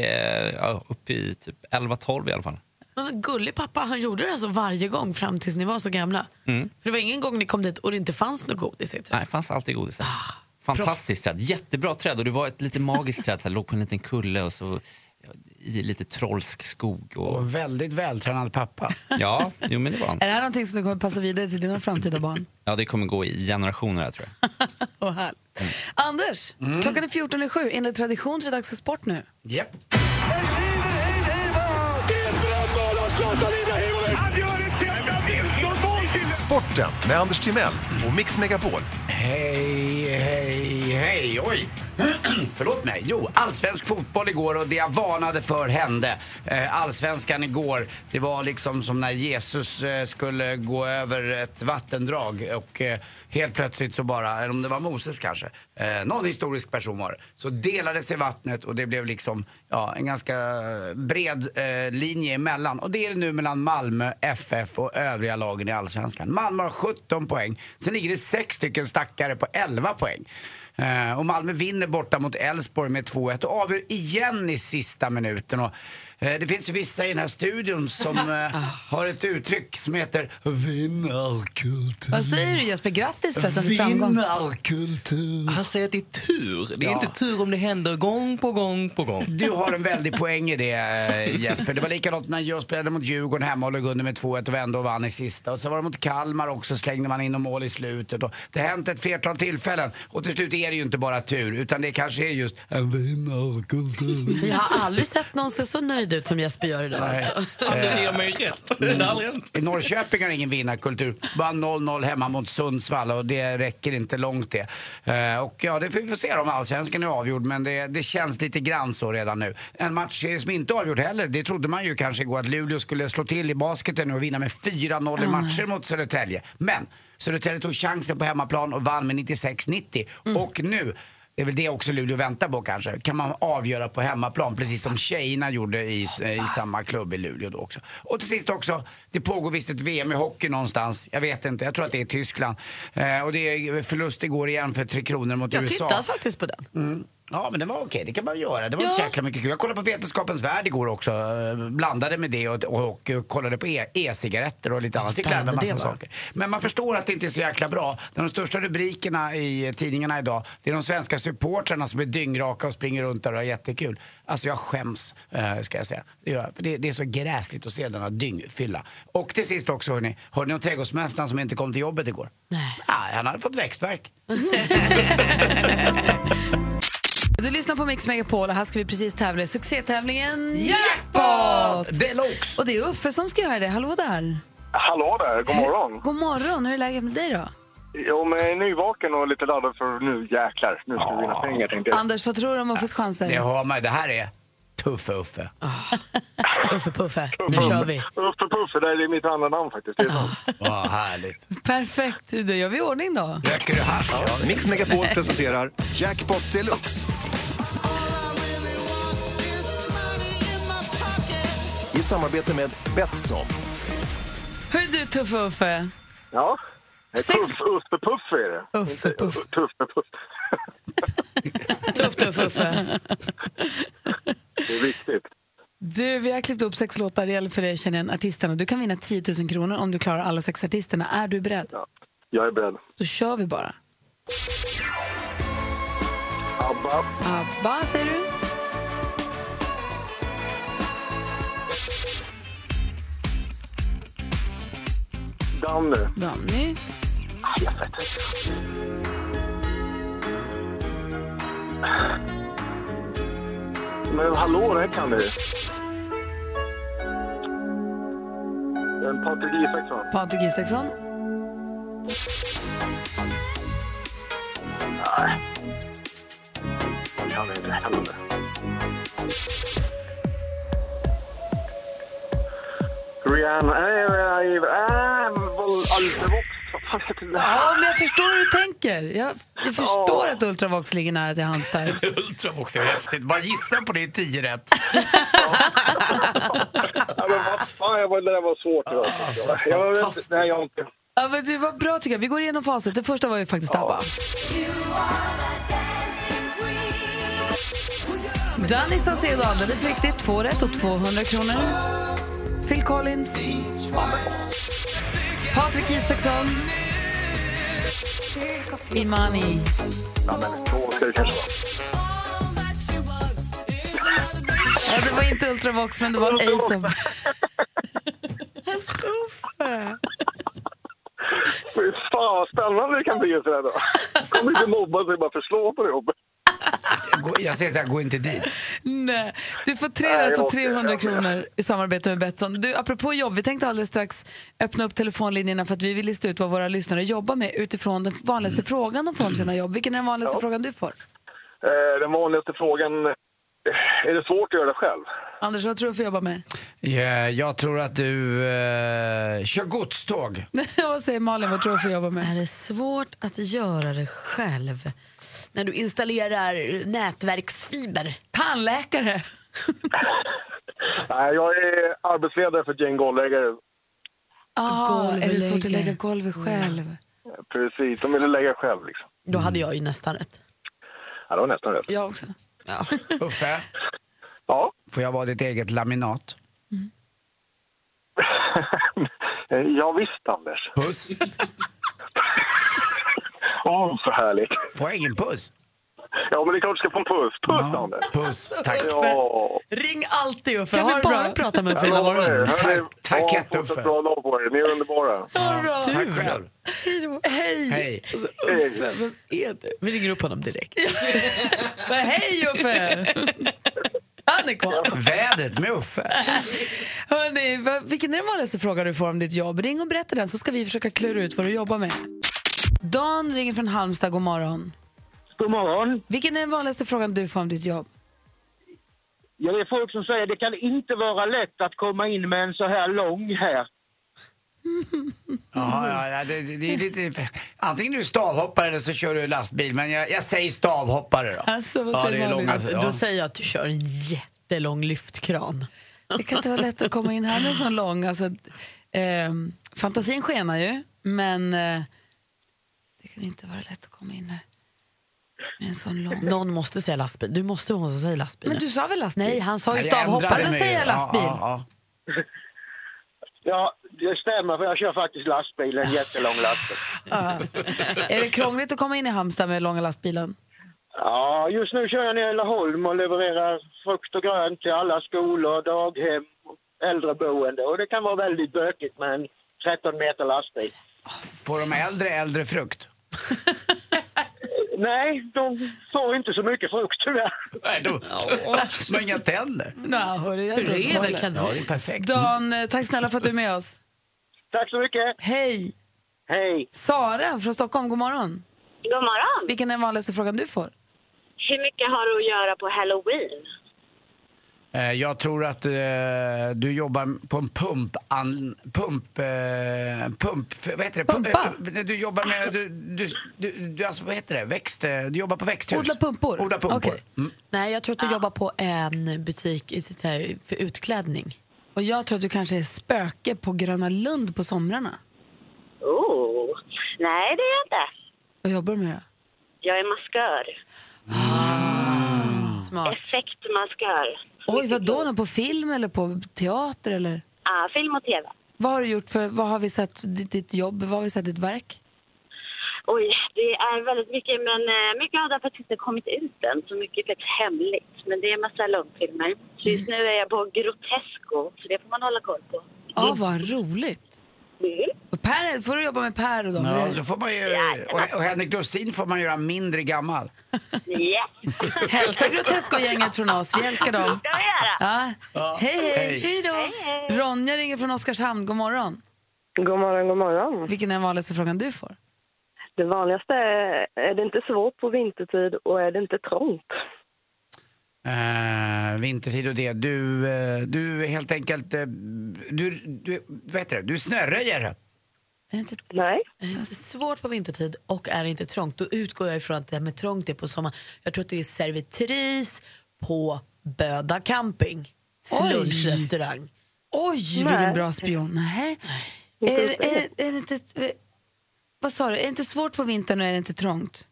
[SPEAKER 10] ja, uppe i typ 11-12 i alla fall.
[SPEAKER 3] Men vad gullig pappa, han gjorde det alltså varje gång fram tills ni var så gamla.
[SPEAKER 10] Mm.
[SPEAKER 3] För det var ingen gång ni kom dit och det inte fanns något godis i det.
[SPEAKER 10] Nej, det fanns alltid godis där.
[SPEAKER 2] Ah,
[SPEAKER 10] Fantastiskt träd, jättebra träd. Och det var ett lite magiskt träd, så här, låg på en liten kulle och så i lite trollsk skog. Och...
[SPEAKER 4] Och väldigt vältränad pappa.
[SPEAKER 10] Ja, jo, men det var han.
[SPEAKER 2] Är det här någonting som du kommer passa vidare till dina framtida barn?
[SPEAKER 10] Ja, det kommer gå i generationer här, tror jag.
[SPEAKER 2] Och här. Anders,
[SPEAKER 4] Mm.
[SPEAKER 2] klockan är 14.07. Enligt tradition så är det dags för sport nu.
[SPEAKER 4] Japp.
[SPEAKER 11] Sporten med Anders Timell och Mix Megapol.
[SPEAKER 4] Hej, hej, hej. Oj. Förlåt mig. Jo, allsvensk fotboll igår och det jag varnade för hände. Eh, Allsvenskan igår, det var liksom som när Jesus eh, skulle gå över ett vattendrag och eh, helt plötsligt så bara, eller om det var Moses kanske, eh, någon historisk person var det, så delade sig vattnet och det blev liksom ja, en ganska bred eh, linje emellan. Och det är det nu mellan Malmö FF och övriga lagen i Allsvenskan. Malmö har 17 poäng, sen ligger det sex stycken stackare på 11 poäng. Eh, och Malmö vinner borta mot Elfsborg med 2-1 och avgör igen i sista minuten. Och, eh, det finns ju vissa i den här studion som eh, har ett uttryck som heter vinnarkultur.
[SPEAKER 2] Vad säger du Jesper? Grattis förresten framgång. Alltså,
[SPEAKER 4] Vinnarkultur.
[SPEAKER 12] Han säger att det är tur. Det är
[SPEAKER 4] Ja.
[SPEAKER 12] inte tur om det händer gång på gång på gång.
[SPEAKER 4] Du har en väldig poäng i det eh, Jesper. Det var likadant när jag spelade mot Djurgården hemma och låg under med 2-1 och vände och vann i sista. Och så var det mot Kalmar också, slängde man in något mål i slutet. Och det har hänt ett flertal tillfällen. Och till slut är det ju inte bara tur, utan det kanske är just en vinnarkultur.
[SPEAKER 3] Jag har aldrig sett någon se så nöjd nöjd ut som Jesper gör idag.
[SPEAKER 4] Nej.
[SPEAKER 3] Alltså.
[SPEAKER 4] Eh,
[SPEAKER 13] mig rätt. Det har aldrig hänt.
[SPEAKER 4] I Norrköping har ingen vinnarkultur. Bara 0-0 hemma mot Sundsvall och det räcker inte långt det. Eh, Och ja, det får vi får se om allsvenskan är avgjord men det, det känns lite grann så redan nu. En match som inte är avgjord heller, det trodde man ju kanske igår att Luleå skulle slå till i basketen och vinna med 4-0 i
[SPEAKER 14] Ah.
[SPEAKER 4] matcher mot Södertälje. Men Södertälje tog chansen på hemmaplan och vann med 96-90. Och nu det är väl det också Luleå väntar på kanske. Kan man avgöra på hemmaplan precis som tjejerna gjorde i, i samma klubb i Luleå då också. Och till sist också, det pågår visst ett VM i hockey någonstans. Jag vet inte, jag tror att det är Tyskland. Eh, och det är förlust igår igen för Tre Kronor mot
[SPEAKER 3] Jag
[SPEAKER 4] USA.
[SPEAKER 3] tittade faktiskt på den.
[SPEAKER 4] Mm. Ja, men det var okej. Det kan man göra. Det var
[SPEAKER 3] Ja.
[SPEAKER 4] inte så jäkla mycket kul. Jag kollade på Vetenskapens Värld igår också. eh, Blandade med det och, och, och kollade på e- e-cigaretter och lite annat. Det klarade en
[SPEAKER 3] spännande
[SPEAKER 4] massa
[SPEAKER 3] det var.
[SPEAKER 4] saker. Men man förstår att det inte är så jäkla bra. De största rubrikerna i tidningarna idag, det är de svenska supportrarna som är dyngraka och springer runt där och har jättekul. Alltså jag skäms, eh, ska jag säga. Det, gör jag. För det, det är så gräsligt att se denna dyngfylla. Och till sist också, hörni. Hörde ni om trädgårdsmästaren som inte kom till jobbet igår? Nej. han hade fått växtvärk.
[SPEAKER 2] Du lyssnar på Mix Megapol och här ska vi precis tävla i succétävlingen
[SPEAKER 4] Jackpot! Deluxe!
[SPEAKER 2] Och det är Uffe som ska göra det. Hallå där!
[SPEAKER 15] Hallå där, god morgon.
[SPEAKER 2] God morgon, hur är läget med dig då?
[SPEAKER 15] Jo, men jag är nyvaken och lite laddad för nu jäklar, nu ska vi vinna pengar tänkte jag.
[SPEAKER 2] Anders, vad tror du om Uffes chanser?
[SPEAKER 4] Det har man Det här är Tuffe Uffe.
[SPEAKER 3] Uffe Puffe, nu kör vi.
[SPEAKER 15] Uffe Puffe, det är mitt andra namn faktiskt. Det är sant.
[SPEAKER 4] Vad härligt.
[SPEAKER 2] Perfekt, då gör vi i ordning då.
[SPEAKER 11] Röker du hasch? Mix Megapol presenterar Jackpot Deluxe. I samarbete med Betsson.
[SPEAKER 2] Hur är du Tuffe Uffe?
[SPEAKER 15] Ja.
[SPEAKER 2] Sex-
[SPEAKER 15] Tuff, Uffe Puffe är det.
[SPEAKER 2] Uffe Puff.
[SPEAKER 15] Tuffe Puffe.
[SPEAKER 2] Tuff Tuffe Uffe.
[SPEAKER 15] Det är viktigt.
[SPEAKER 2] Du, vi har klippt upp sex låtar. Det gäller för dig att känna igen artisterna. Du kan vinna 10 000 kronor om du klarar alla sex artisterna. Är du beredd?
[SPEAKER 15] Jag är beredd.
[SPEAKER 2] Då kör vi bara.
[SPEAKER 15] ABBA,
[SPEAKER 2] ABBA säger du.
[SPEAKER 15] Danny.
[SPEAKER 2] Danny.
[SPEAKER 15] Men hallå, det här kan du ju. En Patrik Isaksson.
[SPEAKER 2] Patrik Isaksson.
[SPEAKER 15] Nej. Det kan jag inte heller. Rihanna. Nej, nej, nej. Ah, Ultravox. Vad fan heter det?
[SPEAKER 2] Ja, men jag förstår hur du tänker. Jag, jag förstår att Ultravox ligger nära till hands där.
[SPEAKER 4] Ultravox är häftigt. Bara gissa på det i tio rätt.
[SPEAKER 15] Ja, men vad fan, jag var, det där var svårt idag. Alltså, jag vet inte. Nej, jag har inte.
[SPEAKER 2] Ja, men det var bra tycker jag. Vi går igenom facit. Det första var ju faktiskt ABBA. Danny Saucedo, alldeles riktigt. Två rätt och 200 kronor. Phil Collins. Patrik Isaksson. Imani.
[SPEAKER 15] Ja, men två ska det kanske
[SPEAKER 2] Ja, det var inte Ultravox, men det var Ace of...
[SPEAKER 15] vara. Fy fan, vad spännande det kan bli en sån här dag. Kommer inte mobba sig, bara förslå på det jobbet.
[SPEAKER 4] Gå- Jag säger så här, gå inte dit.
[SPEAKER 2] Nej, du får tre
[SPEAKER 4] Nej,
[SPEAKER 2] rätt
[SPEAKER 4] jag
[SPEAKER 2] och
[SPEAKER 4] orkar.
[SPEAKER 2] 300
[SPEAKER 4] Jag-
[SPEAKER 2] kronor i samarbete med Betsson. Du, apropå jobb, vi tänkte alldeles strax öppna upp telefonlinjerna för att vi vill lista ut vad våra lyssnare jobbar med utifrån den vanligaste
[SPEAKER 16] Mm.
[SPEAKER 2] frågan de får om sina jobb. Vilken är den vanligaste frågan du får?
[SPEAKER 15] Eh, den vanligaste frågan, eh, är det svårt att göra det själv?
[SPEAKER 2] Anders, vad tror du får jobba med?
[SPEAKER 4] Ja, jag tror att du eh, kör godståg.
[SPEAKER 2] vad säger Malin, vad tror du får jobba med?
[SPEAKER 3] Är det svårt att göra det själv? När du installerar nätverksfiber?
[SPEAKER 2] Tandläkare!
[SPEAKER 15] Nej, jag är arbetsledare för ett gäng golvläggare.
[SPEAKER 2] Ah, är det svårt att
[SPEAKER 3] Golvläggare.
[SPEAKER 2] lägga golvet själv?
[SPEAKER 15] Precis, de ville lägga själv liksom.
[SPEAKER 3] Då hade jag ju nästan rätt.
[SPEAKER 15] Ja, det var nästan rätt.
[SPEAKER 2] Jag också.
[SPEAKER 4] Uffe?
[SPEAKER 15] Ja?
[SPEAKER 4] Får jag vara ditt eget laminat?
[SPEAKER 15] Eh, Ja, visst Anders.
[SPEAKER 4] Puss.
[SPEAKER 15] Åh, så härligt.
[SPEAKER 4] Får jag ingen puss?
[SPEAKER 15] Ja, men det är klart du ska få en puss. Puss Anders.
[SPEAKER 4] Puss,
[SPEAKER 15] tack. Ja.
[SPEAKER 3] Ring alltid Uffe.
[SPEAKER 2] Kan
[SPEAKER 3] Ha
[SPEAKER 2] vi
[SPEAKER 3] det
[SPEAKER 2] bara
[SPEAKER 3] bra.
[SPEAKER 2] prata med
[SPEAKER 15] Jag
[SPEAKER 2] Frida
[SPEAKER 15] lovar er, hörni,
[SPEAKER 2] morgon?
[SPEAKER 4] Tack- tack,
[SPEAKER 15] ja, fortsätt
[SPEAKER 4] Uffe.
[SPEAKER 15] bra dag på er. Ni är underbara.
[SPEAKER 2] Hurra!
[SPEAKER 4] Tack själv.
[SPEAKER 2] Hej!
[SPEAKER 4] Hej.
[SPEAKER 6] eh,
[SPEAKER 2] Uffe, vem är du?
[SPEAKER 3] Vi ringer upp honom direkt.
[SPEAKER 2] Men hej Uffe!
[SPEAKER 8] han är kvar.
[SPEAKER 4] Vädret med Uffe.
[SPEAKER 2] Hörrni, vad- vilken är den vanligaste frågan du får om ditt jobb? Ring och berätta den så ska vi försöka klura ut vad du jobbar med. Dan ringer från Halmstad, god morgon.
[SPEAKER 17] God morgon.
[SPEAKER 2] Vilken är den vanligaste frågan du får om ditt jobb?
[SPEAKER 17] Ja, det är folk som säger det kan inte vara lätt att komma in med en så här lång här.
[SPEAKER 4] Jaha, ja, ja, det, det det är lite... Antingen du är stavhoppare eller så kör du lastbil, men jag, jag säger stavhoppare då.
[SPEAKER 8] Alltså,
[SPEAKER 4] vad Ja, säger det är Malin? långa- ja.
[SPEAKER 3] Då säger jag att du kör en jättelång lyftkran.
[SPEAKER 2] Det kan inte vara lätt att komma in här med en sån lång. Alltså, ehm, fantasin skenar ju, men eh, det kan inte vara lätt att komma in här med en sån lång.
[SPEAKER 3] Någon måste säga lastbil. Du måste vara hon som säger lastbil.
[SPEAKER 2] Men du sa väl lastbil?
[SPEAKER 3] Nej, han sa ju
[SPEAKER 2] Ja, jag ändrade
[SPEAKER 3] stavhoppare. Då
[SPEAKER 2] mig.
[SPEAKER 3] säger jag lastbil.
[SPEAKER 2] Ja, ja,
[SPEAKER 17] Ja, det stämmer för jag kör faktiskt lastbil, en jättelång lastbil.
[SPEAKER 2] Ja. Är det krångligt att komma in i Halmstad med långa lastbilen?
[SPEAKER 17] Ja, just nu kör jag ner i Laholm och levererar frukt och grönt till alla skolor, daghem, äldreboende och det kan vara väldigt bökigt med en 13 meter lastbil.
[SPEAKER 4] Får de äldre äldre frukt?
[SPEAKER 17] Nej, de får inte så mycket frukt tyvärr.
[SPEAKER 4] Nej, de, de har inga tänder.
[SPEAKER 2] Nej, hörru, jag tror
[SPEAKER 4] Reven
[SPEAKER 2] jag håller.
[SPEAKER 4] kan- Ja, det är perfekt.
[SPEAKER 2] Dan, eh, tack snälla för att du är med oss.
[SPEAKER 17] Tack så mycket.
[SPEAKER 2] Hej.
[SPEAKER 17] Hej.
[SPEAKER 2] Sara från Stockholm, god morgon.
[SPEAKER 18] God morgon.
[SPEAKER 2] Vilken är den vanligaste frågan du får?
[SPEAKER 18] Hur mycket har du att göra på halloween?
[SPEAKER 4] Eh, Jag tror att eh, du jobbar på en pump... An, pump... Eh, pump... Vad heter det? Pumpa? Du jobbar med... Du, du, du, du, alltså, vad heter det? Växt... eh, Du jobbar på växthus.
[SPEAKER 3] Odla pumpor?
[SPEAKER 4] Odla pumpor.
[SPEAKER 3] Okej.
[SPEAKER 4] Mm.
[SPEAKER 3] Nej, jag tror att du jobbar på en butik i sitt här för utklädning.
[SPEAKER 2] Och jag tror att du kanske är spöke på Gröna Lund på somrarna.
[SPEAKER 18] Oh. Nej, det är jag inte.
[SPEAKER 2] Vad jobbar du med då?
[SPEAKER 18] Jag är maskör.
[SPEAKER 8] Smart.
[SPEAKER 18] Effektmaskör.
[SPEAKER 2] Ah. Oj, vadå? Någon På film eller på teater eller?
[SPEAKER 18] Ah, film och tv.
[SPEAKER 2] Vad har du gjort för, vad har vi sett ditt, ditt jobb, vad har vi sett ditt verk?
[SPEAKER 18] Oj, det är väldigt mycket, men eh, mycket har därför inte kommit ut än. Så mycket är faktiskt hemligt. Men det är en massa långfilmer. Så just nu är jag på Grotesco, så det får man hålla koll på.
[SPEAKER 2] Ja, vad roligt.
[SPEAKER 18] Mm.
[SPEAKER 2] Och Per, får du jobba med Per och dem?
[SPEAKER 4] Ja,
[SPEAKER 2] Det-
[SPEAKER 4] då får man ju... Och, och Henrik Dorsin får man göra mindre gammal.
[SPEAKER 2] Hälsa Grotesco-gänget från oss, vi älskar dem.
[SPEAKER 18] Det ska vi göra.
[SPEAKER 2] Ja.
[SPEAKER 4] Ja,
[SPEAKER 2] Hej,
[SPEAKER 4] hej.
[SPEAKER 2] hej.
[SPEAKER 4] Hej
[SPEAKER 2] då. Ronja ringer från Oskarshamn, god morgon.
[SPEAKER 16] God morgon, god morgon.
[SPEAKER 2] Vilken är den vanligaste frågan du får?
[SPEAKER 16] Det vanligaste är, är det inte svårt på vintertid och är det inte trångt?
[SPEAKER 4] Eh, vintertid och det. Du, eh, du helt enkelt... eh, Du, du, vad heter det? Du snöröjer.
[SPEAKER 16] Mm.
[SPEAKER 3] Är det inte,
[SPEAKER 16] Nej.
[SPEAKER 3] Är det inte Alltså, svårt på vintertid och är det inte trångt? Då utgår jag ifrån att det här med trångt är på sommaren. Jag tror att det är servitris på Böda camping.
[SPEAKER 2] Oj.
[SPEAKER 3] Lunchrestaurang.
[SPEAKER 2] Oj,
[SPEAKER 3] Nej.
[SPEAKER 2] vilken bra spion. Nej.
[SPEAKER 3] Inte
[SPEAKER 2] Är,
[SPEAKER 3] så.
[SPEAKER 2] är, är det inte, eh, vad sa du? Är det inte svårt på vintern och är det inte trångt?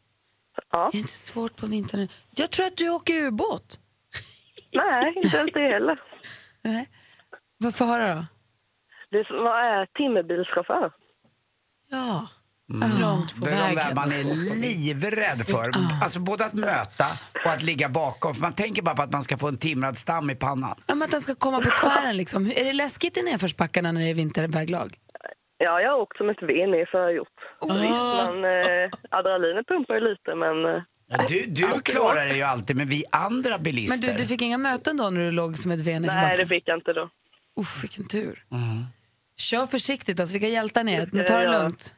[SPEAKER 16] Ja.
[SPEAKER 2] Är det inte svårt på vintern? Jag tror att du åker ubåt.
[SPEAKER 16] Nej, inte ens det heller.
[SPEAKER 2] Nej. Vad får jag höra då?
[SPEAKER 16] Det är, som- vad är timmerbilschaufför?
[SPEAKER 3] Ja.
[SPEAKER 4] Trångt
[SPEAKER 16] på
[SPEAKER 4] Mm. det är de där
[SPEAKER 16] vägen
[SPEAKER 4] man
[SPEAKER 16] och så.
[SPEAKER 4] är livrädd för. Alltså både att möta och att ligga bakom. För man tänker bara på att man ska få en timrad stam i pannan.
[SPEAKER 2] Ja, men att den ska komma på tvären liksom. Hur- Är det läskigt i nedförsbackarna när det är vinterväglag?
[SPEAKER 16] Ja, jag har åkt som ett ben i förgjort. Så visst, man, eh, adrenalinet pumpar ju lite, men... eh,
[SPEAKER 4] Ja, Du, du klarar det ju alltid, men vi andra bilister.
[SPEAKER 2] Men du, du fick inga möten då när du låg som ett ven i
[SPEAKER 16] Nej, det
[SPEAKER 2] backen?
[SPEAKER 16] fick jag inte då.
[SPEAKER 2] Uff, vilken tur. Kör försiktigt, alltså, vilka hjältar ni är. Men
[SPEAKER 16] ska
[SPEAKER 2] ta
[SPEAKER 16] jag
[SPEAKER 2] det
[SPEAKER 16] göra.
[SPEAKER 2] lugnt.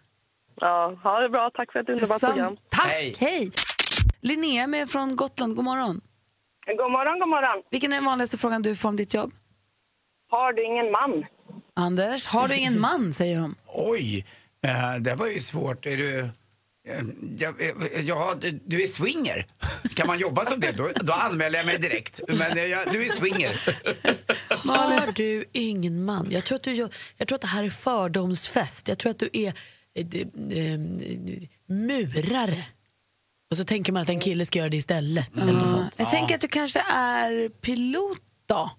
[SPEAKER 16] Ja, ha det bra. Tack för ett underbart
[SPEAKER 2] Sam-
[SPEAKER 16] program.
[SPEAKER 2] Tack, hej. Linnea är med från Gotland, god morgon.
[SPEAKER 19] God morgon, god morgon.
[SPEAKER 2] Vilken är den vanligaste frågan du får om ditt jobb?
[SPEAKER 19] Har du ingen man?
[SPEAKER 2] Anders, har du ingen man, säger de.
[SPEAKER 4] Oj, eh, det var ju svårt. Är du... eh, Ja, eh, ja, du- du är swinger. Kan man jobba som det? Då, då anmäler jag mig direkt. Men eh, jag, du är swinger.
[SPEAKER 3] Har du ingen man? Jag tror, att du, gör- jag tror att det här är fördomsfest. Jag tror att du är eh, d- eh, murare. Och så tänker man att en kille ska göra det istället. Eller något sånt.
[SPEAKER 2] Jag tänker att du kanske är pilot då?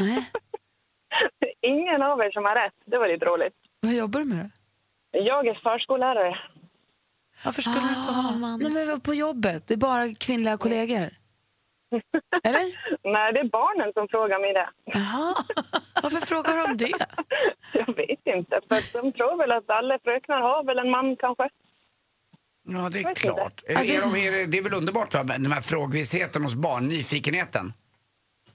[SPEAKER 19] Nej. ingen av er som har rätt. Det var lite roligt.
[SPEAKER 2] Vad jobbar du med då?
[SPEAKER 19] Jag är förskollärare.
[SPEAKER 2] Varför skulle du inte ha en man? Ah, Nej, men vi var på jobbet, det är bara kvinnliga kollegor.
[SPEAKER 19] Nej, det är barnen som frågar mig det.
[SPEAKER 2] Jaha.
[SPEAKER 3] Varför frågar de det?
[SPEAKER 19] Jag vet inte. För att de tror väl att alla fröknar har väl en man kanske.
[SPEAKER 4] Ja,
[SPEAKER 20] Jag
[SPEAKER 4] det
[SPEAKER 20] vet
[SPEAKER 4] är
[SPEAKER 20] inte.
[SPEAKER 4] klart. Är, är de, är, det- det är väl underbart, va? den här frågvisheten hos barn, nyfikenheten.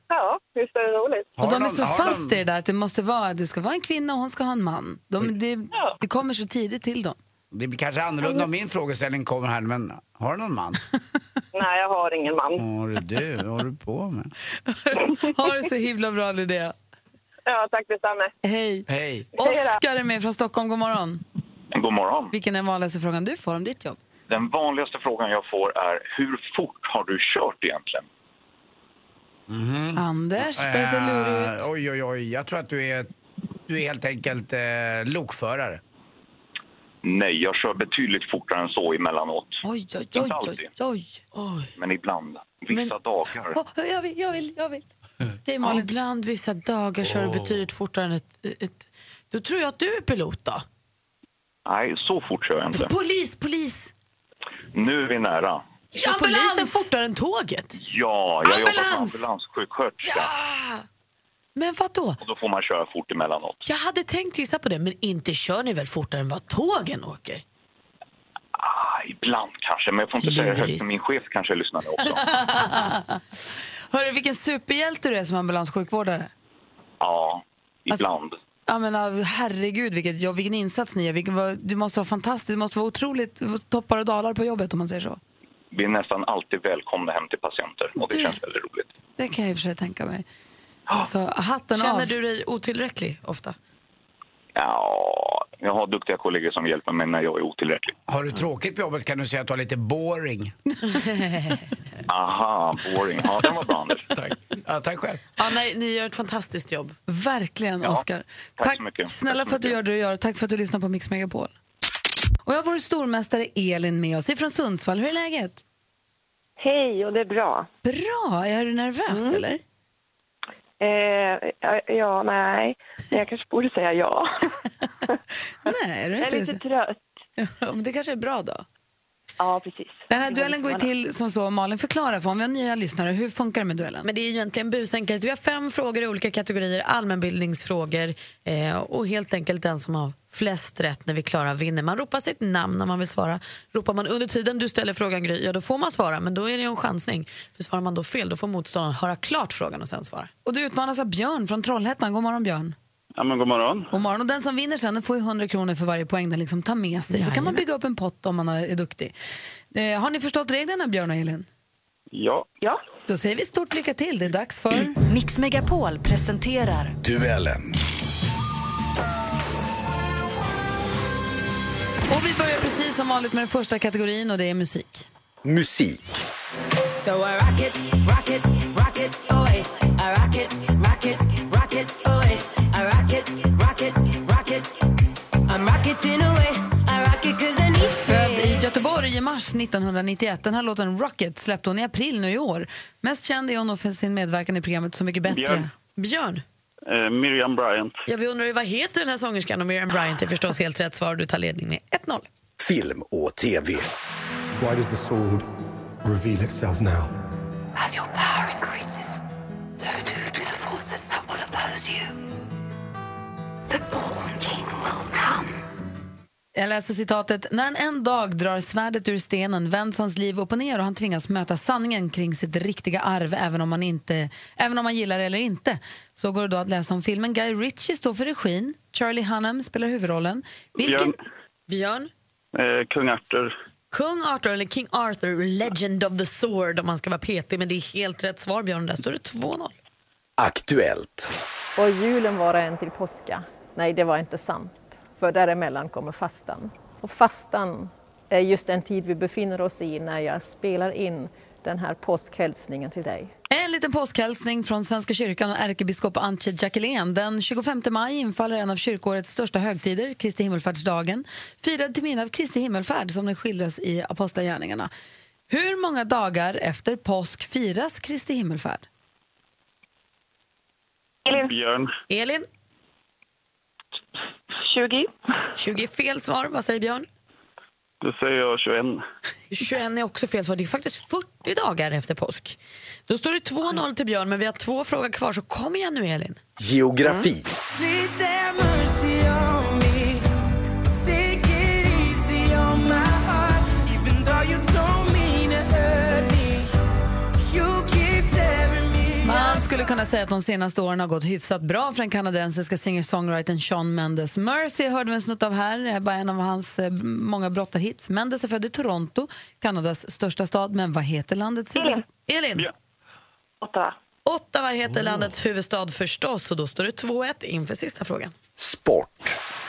[SPEAKER 20] Ja, visst är det roligt.
[SPEAKER 2] Och de är så
[SPEAKER 4] har
[SPEAKER 2] fast
[SPEAKER 4] de-
[SPEAKER 2] i det där att det måste vara, det ska vara en kvinna och hon ska ha en man. De, det, det kommer så tidigt till dem.
[SPEAKER 4] Det blir kanske annorlunda om min frågeställning kommer här, men har du någon man?
[SPEAKER 20] Nej, jag har ingen man.
[SPEAKER 4] Har du, vad håller du på med?
[SPEAKER 2] Ha det så himla bra, Linnea.
[SPEAKER 20] Ja, tack detsamma.
[SPEAKER 2] Hej.
[SPEAKER 4] Hej.
[SPEAKER 2] Oskar är med från Stockholm. God morgon.
[SPEAKER 6] God morgon.
[SPEAKER 2] Vilken är den vanligaste frågan du får om ditt jobb?
[SPEAKER 6] Den vanligaste frågan jag får är hur fort har du kört egentligen? Mm.
[SPEAKER 2] Anders börjar se lurig ut.
[SPEAKER 4] Eh, oj, oj, oj. Jag tror att du är, du är helt enkelt eh, lokförare.
[SPEAKER 6] Nej, jag kör betydligt fortare än så emellanåt.
[SPEAKER 2] Oj, oj,
[SPEAKER 6] oj, Inte alltid,
[SPEAKER 2] oj.
[SPEAKER 6] men ibland. Vissa dagar.
[SPEAKER 3] Åh, jag vill, jag vill, jag vill. Det är Malin. Ibland vissa dagar kör du betydligt fortare än ett, ett... Då tror jag att du är pilot då.
[SPEAKER 6] Nej, så fort kör jag inte.
[SPEAKER 3] Polis, polis!
[SPEAKER 6] Nu är vi nära.
[SPEAKER 3] Kör polisen fortare än tåget?
[SPEAKER 6] Ja, jag jobbar som
[SPEAKER 3] Ambulans!
[SPEAKER 6] ambulanssjuksköterska.
[SPEAKER 3] Men vad då?
[SPEAKER 6] Och då får man köra fort emellanåt.
[SPEAKER 3] Jag hade tänkt gissa på det, men inte kör ni väl fortare än vad tågen åker?
[SPEAKER 6] Ah, ibland kanske, men jag får inte säga det högt för min chef kanske lyssnar nu också.
[SPEAKER 2] Hörru, vilken superhjälte du är som ambulanssjukvårdare. Alltså,
[SPEAKER 6] Ja, ibland.
[SPEAKER 2] Ja, men, ah, herregud, vilket, ja, vilken insats ni gör. Vilken, vad- du måste vara fantastisk. Du måste vara otroligt toppar och dalar på jobbet om man säger så.
[SPEAKER 6] Vi är nästan alltid välkomna hem till patienter och det känns väldigt roligt. Ah.
[SPEAKER 2] Det kan jag i och för sig tänka mig. Så hatten
[SPEAKER 3] Känner
[SPEAKER 2] av.
[SPEAKER 3] du dig otillräcklig ofta?
[SPEAKER 6] Ja, jag har duktiga kollegor som hjälper mig när jag är otillräcklig.
[SPEAKER 4] Har du tråkigt på jobbet kan du säga att du har lite boring.
[SPEAKER 6] Aha, boring. Ja, den var bra Anders.
[SPEAKER 4] Tack. Ja, tack själv.
[SPEAKER 3] Ja, nej, ni gör ett fantastiskt jobb.
[SPEAKER 2] Verkligen,
[SPEAKER 3] Ja,
[SPEAKER 2] Oskar.
[SPEAKER 3] tack så mycket.
[SPEAKER 2] snälla
[SPEAKER 3] Tack så
[SPEAKER 2] för att du
[SPEAKER 3] mycket.
[SPEAKER 2] gör det du gör. Tack för att du lyssnar på Mix Megapol. Och jag har vår stormästare Elin med oss ifrån Sundsvall. Hur är läget?
[SPEAKER 21] Hej, och det är bra.
[SPEAKER 2] Bra! Är du nervös
[SPEAKER 21] Mm.
[SPEAKER 2] eller?
[SPEAKER 21] Eh, ja, ja, nej. Men Jag kanske borde säga ja.
[SPEAKER 2] Nej, är du
[SPEAKER 21] Jag är
[SPEAKER 2] inte
[SPEAKER 21] lite trött.
[SPEAKER 2] Ja, men det kanske är bra då?
[SPEAKER 21] Ja, precis.
[SPEAKER 2] Den här duellen går ju till som så, Malin förklara för om vi har nya lyssnare, hur funkar det med duellen?
[SPEAKER 3] Men det är ju egentligen busenkelt. Vi har fem frågor i olika kategorier, allmänbildningsfrågor eh, och helt enkelt den som har flest rätt när vi klarar vinner. Man ropar sitt namn om man vill svara. Ropar man under tiden du ställer frågan Gry, ja då får man svara men då är det ju en chansning. För svarar man då fel då får motståndaren höra klart frågan och sen svara.
[SPEAKER 2] Och du utmanas av Björn från Trollhättan. God morgon Björn.
[SPEAKER 9] Ja, men god morgon.
[SPEAKER 2] God morgon. Och den som vinner sen den får ju 100 kronor för varje poäng den liksom tar med sig. Så kan man bygga upp en pott om man är duktig. Eh, har ni förstått reglerna Björn och Elin?
[SPEAKER 9] Ja.
[SPEAKER 21] Ja.
[SPEAKER 2] Då säger vi stort lycka till. Det är dags för...
[SPEAKER 22] Mix Megapol presenterar
[SPEAKER 9] Duellen.
[SPEAKER 2] Och vi börjar precis som vanligt med den första kategorin och det är musik.
[SPEAKER 9] Musik.
[SPEAKER 15] So I rock it, rock it, rock it away. I rock it, rock it, rock it away. I rock it, rock it, rock it. I'm rocketing away. I rock it cause I need
[SPEAKER 2] Född i Göteborg i mars 1991. Den här låten Rocket släppte hon i april nu i år. Mest känd är hon nog för sin medverkan i programmet Så mycket bättre.
[SPEAKER 9] Björn.
[SPEAKER 3] Björn?
[SPEAKER 9] Eh, Miriam Bryant.
[SPEAKER 3] Ja, vi undrar ju vad heter den här sångerskan och Miriam Bryant är förstås helt rätt svar. Du tar ledning med 1-0.
[SPEAKER 23] Film och TV.
[SPEAKER 15] Why does the sword reveal itself now?
[SPEAKER 7] As your power increases, so do do the forces that will oppose you. The born king will come.
[SPEAKER 2] Jag läser citatet. När han en dag drar svärdet ur stenen vänds hans liv upp och ner och han tvingas möta sanningen kring sitt riktiga arv även om man, inte, även om man gillar det eller inte. Så går det då att läsa om filmen. Guy Ritchie står för regin. Charlie Hunnam spelar huvudrollen. Vilken...
[SPEAKER 9] Björn.
[SPEAKER 3] Björn?
[SPEAKER 9] Eh, Kung Arthur.
[SPEAKER 3] Kung Arthur, eller King Arthur, Legend of the Sword om man ska vara petig. Men det är helt rätt svar, Björn. Där står det 2-0.
[SPEAKER 23] Aktuellt.
[SPEAKER 24] Och julen vara en till påska? Nej, det var inte sant. För däremellan kommer fastan. Och fastan är just den tid vi befinner oss i när jag spelar in den här påskhälsningen till dig.
[SPEAKER 2] En liten påskhälsning från Svenska kyrkan och ärkebiskop Antje Jackelén. Den 25 maj infaller en av kyrkårets största högtider, Kristi himmelfärdsdagen. Firad till minne av Kristi himmelfärd som den skildras i Apostlagärningarna. Hur många dagar efter påsk firas Kristi himmelfärd?
[SPEAKER 9] Björn.
[SPEAKER 3] Elin?
[SPEAKER 21] 20.
[SPEAKER 3] 20 är fel svar. Vad säger Björn?
[SPEAKER 9] Då säger jag 21.
[SPEAKER 3] 21 är också fel svar. Det är faktiskt 40 dagar efter påsk. Då står det 2-0 till Björn, men vi har två frågor kvar. Så kom igen nu, Elin.
[SPEAKER 23] Geografi.
[SPEAKER 15] Please have mercy on me. Take it easy on my heart. Even
[SPEAKER 2] skulle kunna säga att de senaste åren har gått hyfsat bra för den kanadensiska singer-songwritern Sean Mendes. Mercy hörde vi en snutt av här, det här är bara en av hans eh, många brottarhits. Mendes är född i Toronto, Kanadas största stad, men vad heter landets huvudstad? Elin!
[SPEAKER 19] Ottawa.
[SPEAKER 2] Ottawa heter landets huvudstad förstås och då står det 2-1 inför sista frågan.
[SPEAKER 25] Sport.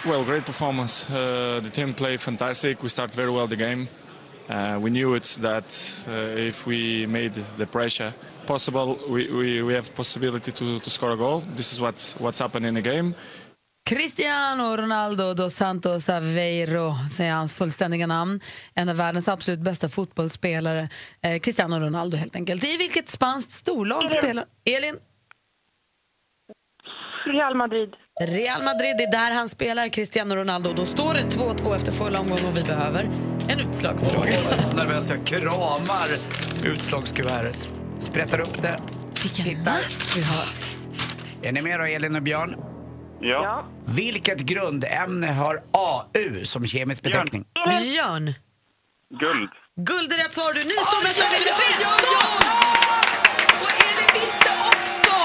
[SPEAKER 13] Well, great performance. Uh, the team played fantastic. We start very well the game. Uh, we knew it that uh, if we made the pressure possible, we, we, we have possibility to, to score a goal. This is what's, what's happened in the game.
[SPEAKER 2] Cristiano Ronaldo dos Santos Aveiro, säger hans fullständiga namn. En av världens absolut bästa fotbollsspelare. Eh, Cristiano Ronaldo, helt enkelt. I vilket spanskt storlag spelar... Elin?
[SPEAKER 19] Real Madrid.
[SPEAKER 2] Real Madrid, det är där han spelar, Cristiano Ronaldo. Då står det 2-2 efter full omgång och vi behöver en utslagsfråga.
[SPEAKER 4] Jag är så nervös, jag kramar utslagskuvertet. Sprättar upp det. Vilken match vi har. Är ni med då, Elin och Björn?
[SPEAKER 26] Ja.
[SPEAKER 4] Vilket grundämne har AU som kemisk beteckning?
[SPEAKER 2] Mm. Björn.
[SPEAKER 26] Guld.
[SPEAKER 2] Guld är rätt svar du. Ni står med ett lag vinner med 13! Och Elin visste också!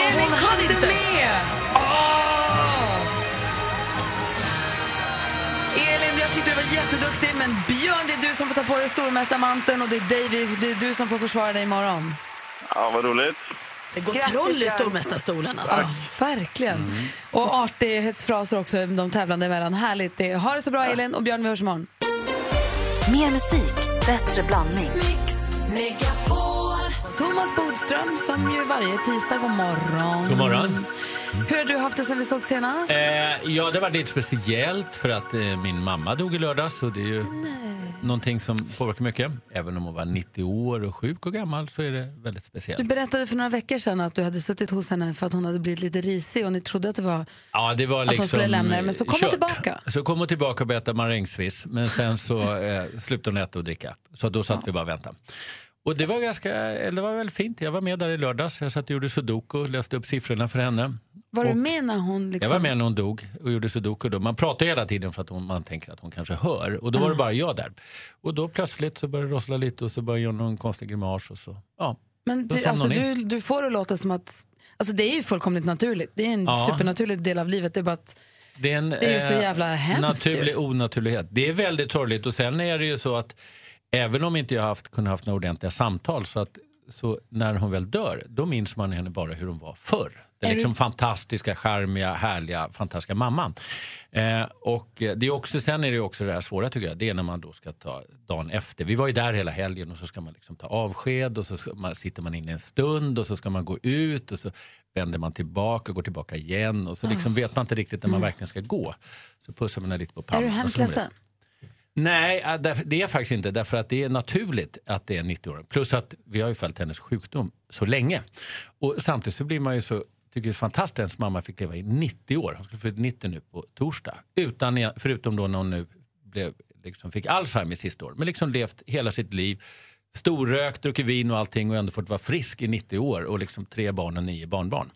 [SPEAKER 2] Elin hade med! Ah. Elin, jag tyckte du var jätteduktig, men Björn, det är du som får ta på dig stormästarmanteln och det är, David, det är du som får försvara dig imorgon.
[SPEAKER 26] Ja, vad roligt.
[SPEAKER 3] Det går troll i stormästarstolen alltså.
[SPEAKER 2] Ja, verkligen. Och artighetsfraser också de tävlande emellan. Härligt. Det är- Ha det så bra, Elin. Och Björn, vi hörs imorgon.
[SPEAKER 5] Mer musik, bättre blandning.
[SPEAKER 2] Thomas Bodström, som ju varje tisdag, god morgon.
[SPEAKER 27] God morgon.
[SPEAKER 2] Hur har du haft det sen vi såg senast?
[SPEAKER 27] Eh, ja, det var lite speciellt för att eh, min mamma dog i lördags och det är ju någonting som påverkar mycket. Även om hon var 90 år och sjuk och gammal så är det väldigt speciellt.
[SPEAKER 2] Du berättade för några veckor sedan att du hade suttit hos henne för att hon hade blivit lite risig och ni trodde att det var...
[SPEAKER 27] Ja, det var
[SPEAKER 2] Att hon
[SPEAKER 27] liksom
[SPEAKER 2] skulle lämna det, men så kom hon
[SPEAKER 27] kört.
[SPEAKER 2] tillbaka.
[SPEAKER 27] Så kom hon tillbaka och berättade marängsviss, men sen så eh, slutade hon äta och dricka. Så då satt vi bara och väntade. Och det var, ganska, eller det var väl fint. Jag var med där i lördags. Jag satt och gjorde sudoku och läste upp siffrorna för henne.
[SPEAKER 2] Var
[SPEAKER 27] och
[SPEAKER 2] du med när hon liksom...
[SPEAKER 27] Jag var med när hon dog och gjorde sudoku. Då. Man pratar ju hela tiden för att hon, man tänker att hon kanske hör. Och då var det bara jag där. Och då plötsligt så började det rossla lite och så började jag göra någon konstig grimas. Och så. Ja.
[SPEAKER 2] Men
[SPEAKER 27] Då
[SPEAKER 2] du,
[SPEAKER 27] somnade
[SPEAKER 2] alltså,
[SPEAKER 27] hon
[SPEAKER 2] du,
[SPEAKER 27] in.
[SPEAKER 2] du får det låta som att... Alltså det är ju fullkomligt naturligt. Det är en
[SPEAKER 27] Ja.
[SPEAKER 2] supernaturlig del av livet. Det är bara att...
[SPEAKER 27] Det är, en,
[SPEAKER 2] Det är ju så
[SPEAKER 27] eh,
[SPEAKER 2] jävla hemskt ju.
[SPEAKER 27] Naturlig onaturlighet. Det är väldigt sorgligt och sen är det ju så att även om inte jag haft, kunnat haft några ordentliga samtal så att så när hon väl dör, då minns man henne bara hur hon var förr. Den
[SPEAKER 28] Är
[SPEAKER 27] liksom
[SPEAKER 28] du-
[SPEAKER 27] fantastiska, charmiga, härliga, fantastiska mamman. Eh, och eh, det är också, sen är det ju också det här svåra tycker jag, det är när man då ska ta dagen efter. Vi var ju där hela helgen och så ska man liksom ta avsked och så ska man, sitter man inne en stund och så ska man gå ut och så vänder man tillbaka och går tillbaka igen och så liksom
[SPEAKER 2] Ah.
[SPEAKER 27] vet man inte riktigt när man
[SPEAKER 2] Mm.
[SPEAKER 27] verkligen ska gå. Så pussar man henne lite på
[SPEAKER 2] Är
[SPEAKER 27] pannan.
[SPEAKER 2] du
[SPEAKER 27] och så
[SPEAKER 2] hemskt
[SPEAKER 27] går man vidare.
[SPEAKER 2] ledsen?
[SPEAKER 27] Nej, äh, därför- det är jag faktiskt inte. Därför att det är naturligt att det är 90 år. Plus att vi har ju följt hennes sjukdom så länge. Och samtidigt så blir man ju så, tycker det är fantastiskt att hennes mamma fick leva i 90 år. Hon skulle flytta 90 nu på torsdag. Utan, e- förutom då när hon nu blev, liksom fick Alzheimer sista år. Men liksom levt hela sitt liv. Storrökt, druckit vin och allting och ändå fått vara frisk i 90 år. Och liksom tre barn och nio barnbarn.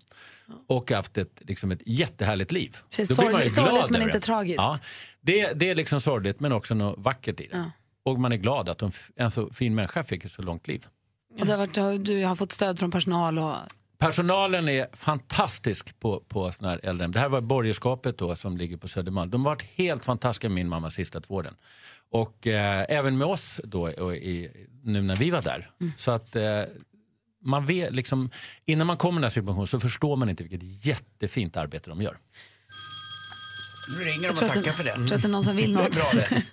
[SPEAKER 27] Och haft ett, liksom ett jättehärligt liv.
[SPEAKER 2] Så
[SPEAKER 27] Då blir man ju
[SPEAKER 2] sorgligt- sorgligt,
[SPEAKER 27] glad
[SPEAKER 2] men
[SPEAKER 27] över
[SPEAKER 2] inte
[SPEAKER 27] det.
[SPEAKER 2] tragiskt.
[SPEAKER 27] Ja, det, det är liksom sorgligt men också något vackert i det. Och man är glad att de, en så fin människa fick ett så långt liv.
[SPEAKER 2] Och det har varit, du har fått stöd från personal och...
[SPEAKER 27] Personalen är fantastisk på, på sån här äldrehem. Det här var borgerskapet då som ligger på Södermalm. De har varit helt fantastiska med min mamma sista två åren. Och eh, även med oss då och i, nu när vi var där.
[SPEAKER 2] Mm.
[SPEAKER 27] Så att eh, man vet liksom, innan man kommer i den här situationen så förstår man inte vilket jättefint arbete de gör.
[SPEAKER 4] Nu ringer
[SPEAKER 2] Jag
[SPEAKER 4] de
[SPEAKER 2] tror
[SPEAKER 4] och
[SPEAKER 2] att
[SPEAKER 4] tackar
[SPEAKER 2] det-
[SPEAKER 4] för det.
[SPEAKER 2] jag tror att det är någon som vill något.
[SPEAKER 4] Det är bra det.